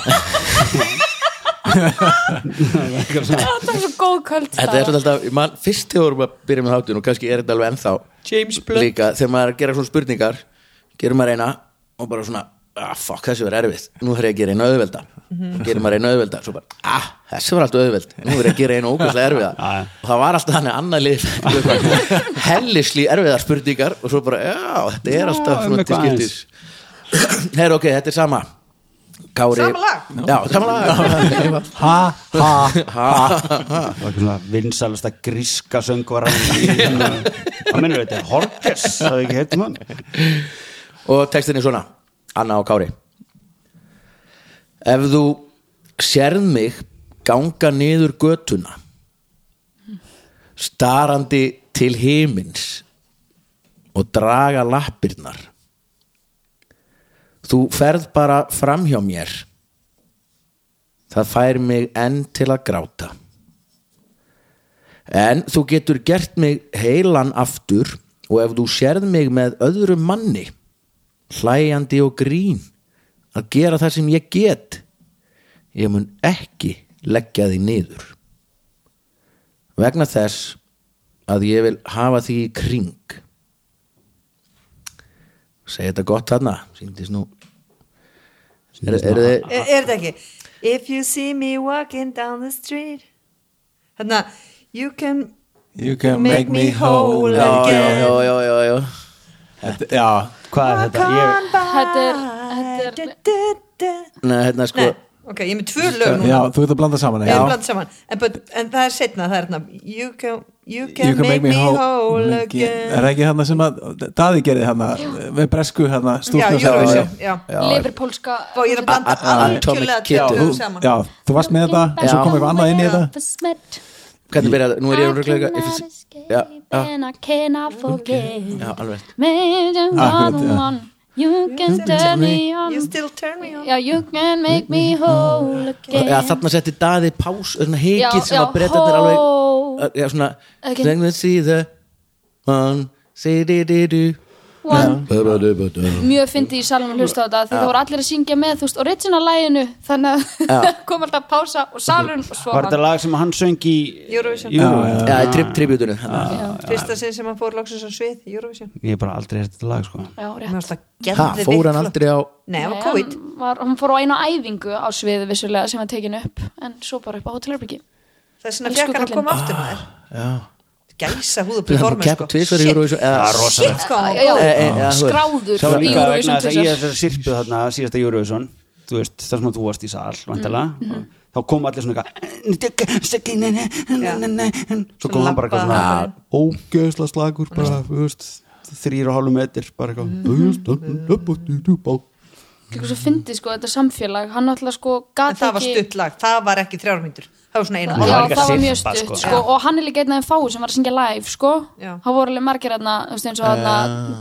S5: þetta er svo góð kvöld
S1: Þetta er svolítið alltaf, man, fyrst þegar vorum að byrja með þáttun og kannski er þetta alveg ennþá
S4: James
S1: líka, þegar maður er að gera svona spurningar gerir maður eina og bara svona ah, fuck, þessi var erfið, nú þarf ég að gera eina auðvelda
S2: Mhm.
S1: gerir maður eina auðvelda, svo bara ah, þessi var alltaf auðveld, nú þarf ég að gera eina ógæslega erfiða
S2: [LAUGHS] Já, já.
S1: og það var alltaf þannig annað
S2: [LAUGHS]
S1: lið hellisli erfiðar spurningar og svo bara, já, þetta er alltaf
S2: um
S1: svona til
S2: eitthvað
S1: skiptis [CLEARS THROAT] Herra, ok, þetta er sama Kári
S4: Sama lag?
S1: Já, sama
S4: [LAUGHS]
S1: lag
S3: ha, ha
S2: Það var ekki svona vinsalasta gríska söngvara
S1: [LAUGHS]
S2: Hvað mennur þetta? Horkes, það er ekki heitum hann
S1: og textin er svona Anna og Kári Ef þú sérð mig ganga niður götuna starandi til himins og draga lappirnar þú ferð bara fram hjá mér það fær mig enn til að gráta En þú getur gert mig heilan aftur og ef þú sérð mig með öðrum manni, hlæjandi og grín, að gera það sem ég get, ég mun ekki leggja því niður. Vegna þess að ég vil hafa því í kring. Segir þetta gott þarna, síndist nú. Er, er þið...
S4: er, er þetta ekki If you see me walking down the street Þannig að You can
S3: You can make me whole
S1: Já, já,
S3: again.
S1: já, já, já, já.
S3: Þetta- Já,
S2: Hvað er þetta? Ég,
S4: come by
S5: Þetta er- þetta er-
S4: Du, du, du.
S1: Nei, hérna sko...
S4: Nei, ok, ég er með tvö lög núna
S3: já, þú ert að blanda saman
S4: Við
S3: já.
S4: erum bland saman en, but, en það er setna, það er hérna You can, you can,
S3: You can
S4: make, me
S3: Er
S4: whole, again
S3: það ekki hann sem að Daði gerði hann með bresku hann
S4: Já,
S3: stúlknum
S4: Eurovision, já
S5: liverpólska
S4: Og ég er að blanda
S1: A- a-
S4: algjörlega
S1: Atomic Kitten.
S4: tvö
S3: Þú,
S4: saman
S3: já, þú varst með þetta og svo kom eitthvað annað inn í þetta
S1: Hvernig byrjaði það? Nú er ég um
S7: I
S1: röglega...
S7: cannot
S1: Já,
S7: escape
S1: já,
S7: and I cannot forget.
S1: já, alveg.
S7: Major
S3: Ah, Akkurat,
S7: one
S3: já.
S7: one, you can turn me on.
S4: You still turn me on
S7: Já, you can make me
S3: Mm.
S7: whole again.
S1: Já, þarna setti daði pás svona heikið
S5: Já,
S1: sem að
S5: já,
S1: breytanir
S5: hó.
S1: alveg já, svona
S5: Ok.
S1: Then we see the one see di di du
S5: One.
S1: Ba-ba-du-ba-du.
S5: mjög fyndi í salum að hlusta á þetta því það voru allir að syngja með þú veist original læginu þannig að [LAUGHS] kom alltaf pása og salun og svo
S2: var þetta lag sem hann söng í
S4: Eurovision.
S1: Já, í trip tributunum þarna.
S4: Fyrsta sinn sem hann fór loksins á svið Eurovision
S2: Ég hef bara aldrei hert þetta lag, sko
S5: Já, rétt.
S4: Mér varst það
S1: Ha,
S4: geðveikt
S1: fór hann
S4: flott.
S1: aldrei á
S4: Nei, það var
S5: Nei,
S4: COVID
S5: hann, var, hann fór á eina æfingu á sviði vissulega sem var tekin upp en svo bara upp á hótelherbyggi
S4: Það er svona
S5: Elsku
S4: fjekkar að
S5: kallinn.
S4: koma aftur maður
S1: Ah,
S4: Gæsa húðu
S1: Hann
S4: performance sko.
S1: keppti tvisvar í Eurovision, eða-
S4: Shit,
S5: Shit,
S4: shit sko. hvað hann
S5: já, já,
S4: var góð.
S1: Eh, eh, já, þú veist.
S5: skráður
S1: Sá
S2: Það var
S5: í
S2: líka
S5: Eurovision
S2: vegna þess að ég
S5: tvisvar.
S2: þessari sirpu þarna síðasta Eurovision þú veist, þar sem að þú varst í sal vantala, þá kom allir svona eitthvað svo kom hann bara eitthvað svona ógjöðsla slagur bara, þú veist þrýra hálfum metir bara eitthvað
S5: líka svo fyndi sko þetta samfélag hann alltaf sko
S4: En
S5: gat
S4: það var
S5: ekki
S4: stutt lag, það var ekki þrjármyndur Það var svona eina
S5: Já,
S2: Nei, það var
S4: hálf
S5: það
S2: líka
S5: var mjög
S2: sirpa,
S5: stutt sko.
S2: sko.
S5: og hann er líka einn af þeim fáu sem var að syngja live sko.
S4: Já.
S5: hann voru alveg margir hann eins og hann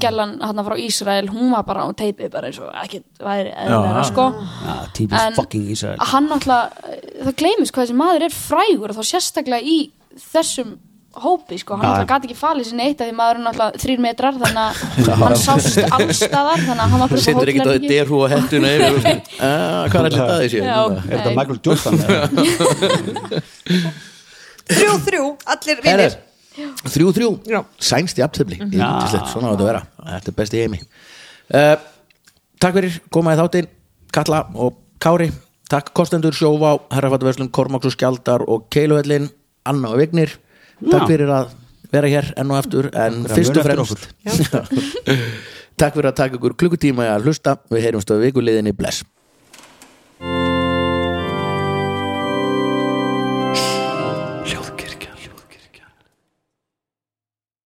S5: gellan hann frá Ísrael hún var bara á teipið bara eins og ekki væri eðlera sko.
S2: típist
S5: En-
S2: fucking Ísrael
S5: hann náttúrulega, það gleymist hvað þessi maður er frægur og þá sérstaklega í þessum hópi sko, hann
S2: Já.
S5: náttúrulega gati ekki falið sinni eitt af því maður er náttúrulega þrýr metrar þannig að hann sást allstaðar þannig að hann
S1: Þú
S5: var bara
S1: setur ekkert á því derhú og hettuna yfir og- [LAUGHS] Ah, Hvað er allir daði sér?
S5: hótelherbergi.
S2: er þetta
S5: Já, nei.
S2: Michael Jordan? eða?
S4: Þrjú, þrjú, allir
S1: Herra,
S4: vinnir
S1: Þrjú, þrjú,
S4: Já.
S1: sænst í aftöfli Yndislegt, svona á þetta að vera Þetta er besti heimi uh, Takk fyrir, komaði þáttinn Katla og Kári Takk kostendur sjófa, herrafatverslun, Kormáks og Skjaldar og Keiluhellin, Anna og Vignir Takk
S2: Já.
S1: fyrir að vera hér enn og aftur en
S2: Takk fyrir að
S1: fyrst og
S2: muna
S1: [LAUGHS] fremst Takk fyrir að taka ykkur klukkutíma í að hlusta Við heyrjumst á vikuliðinni, bless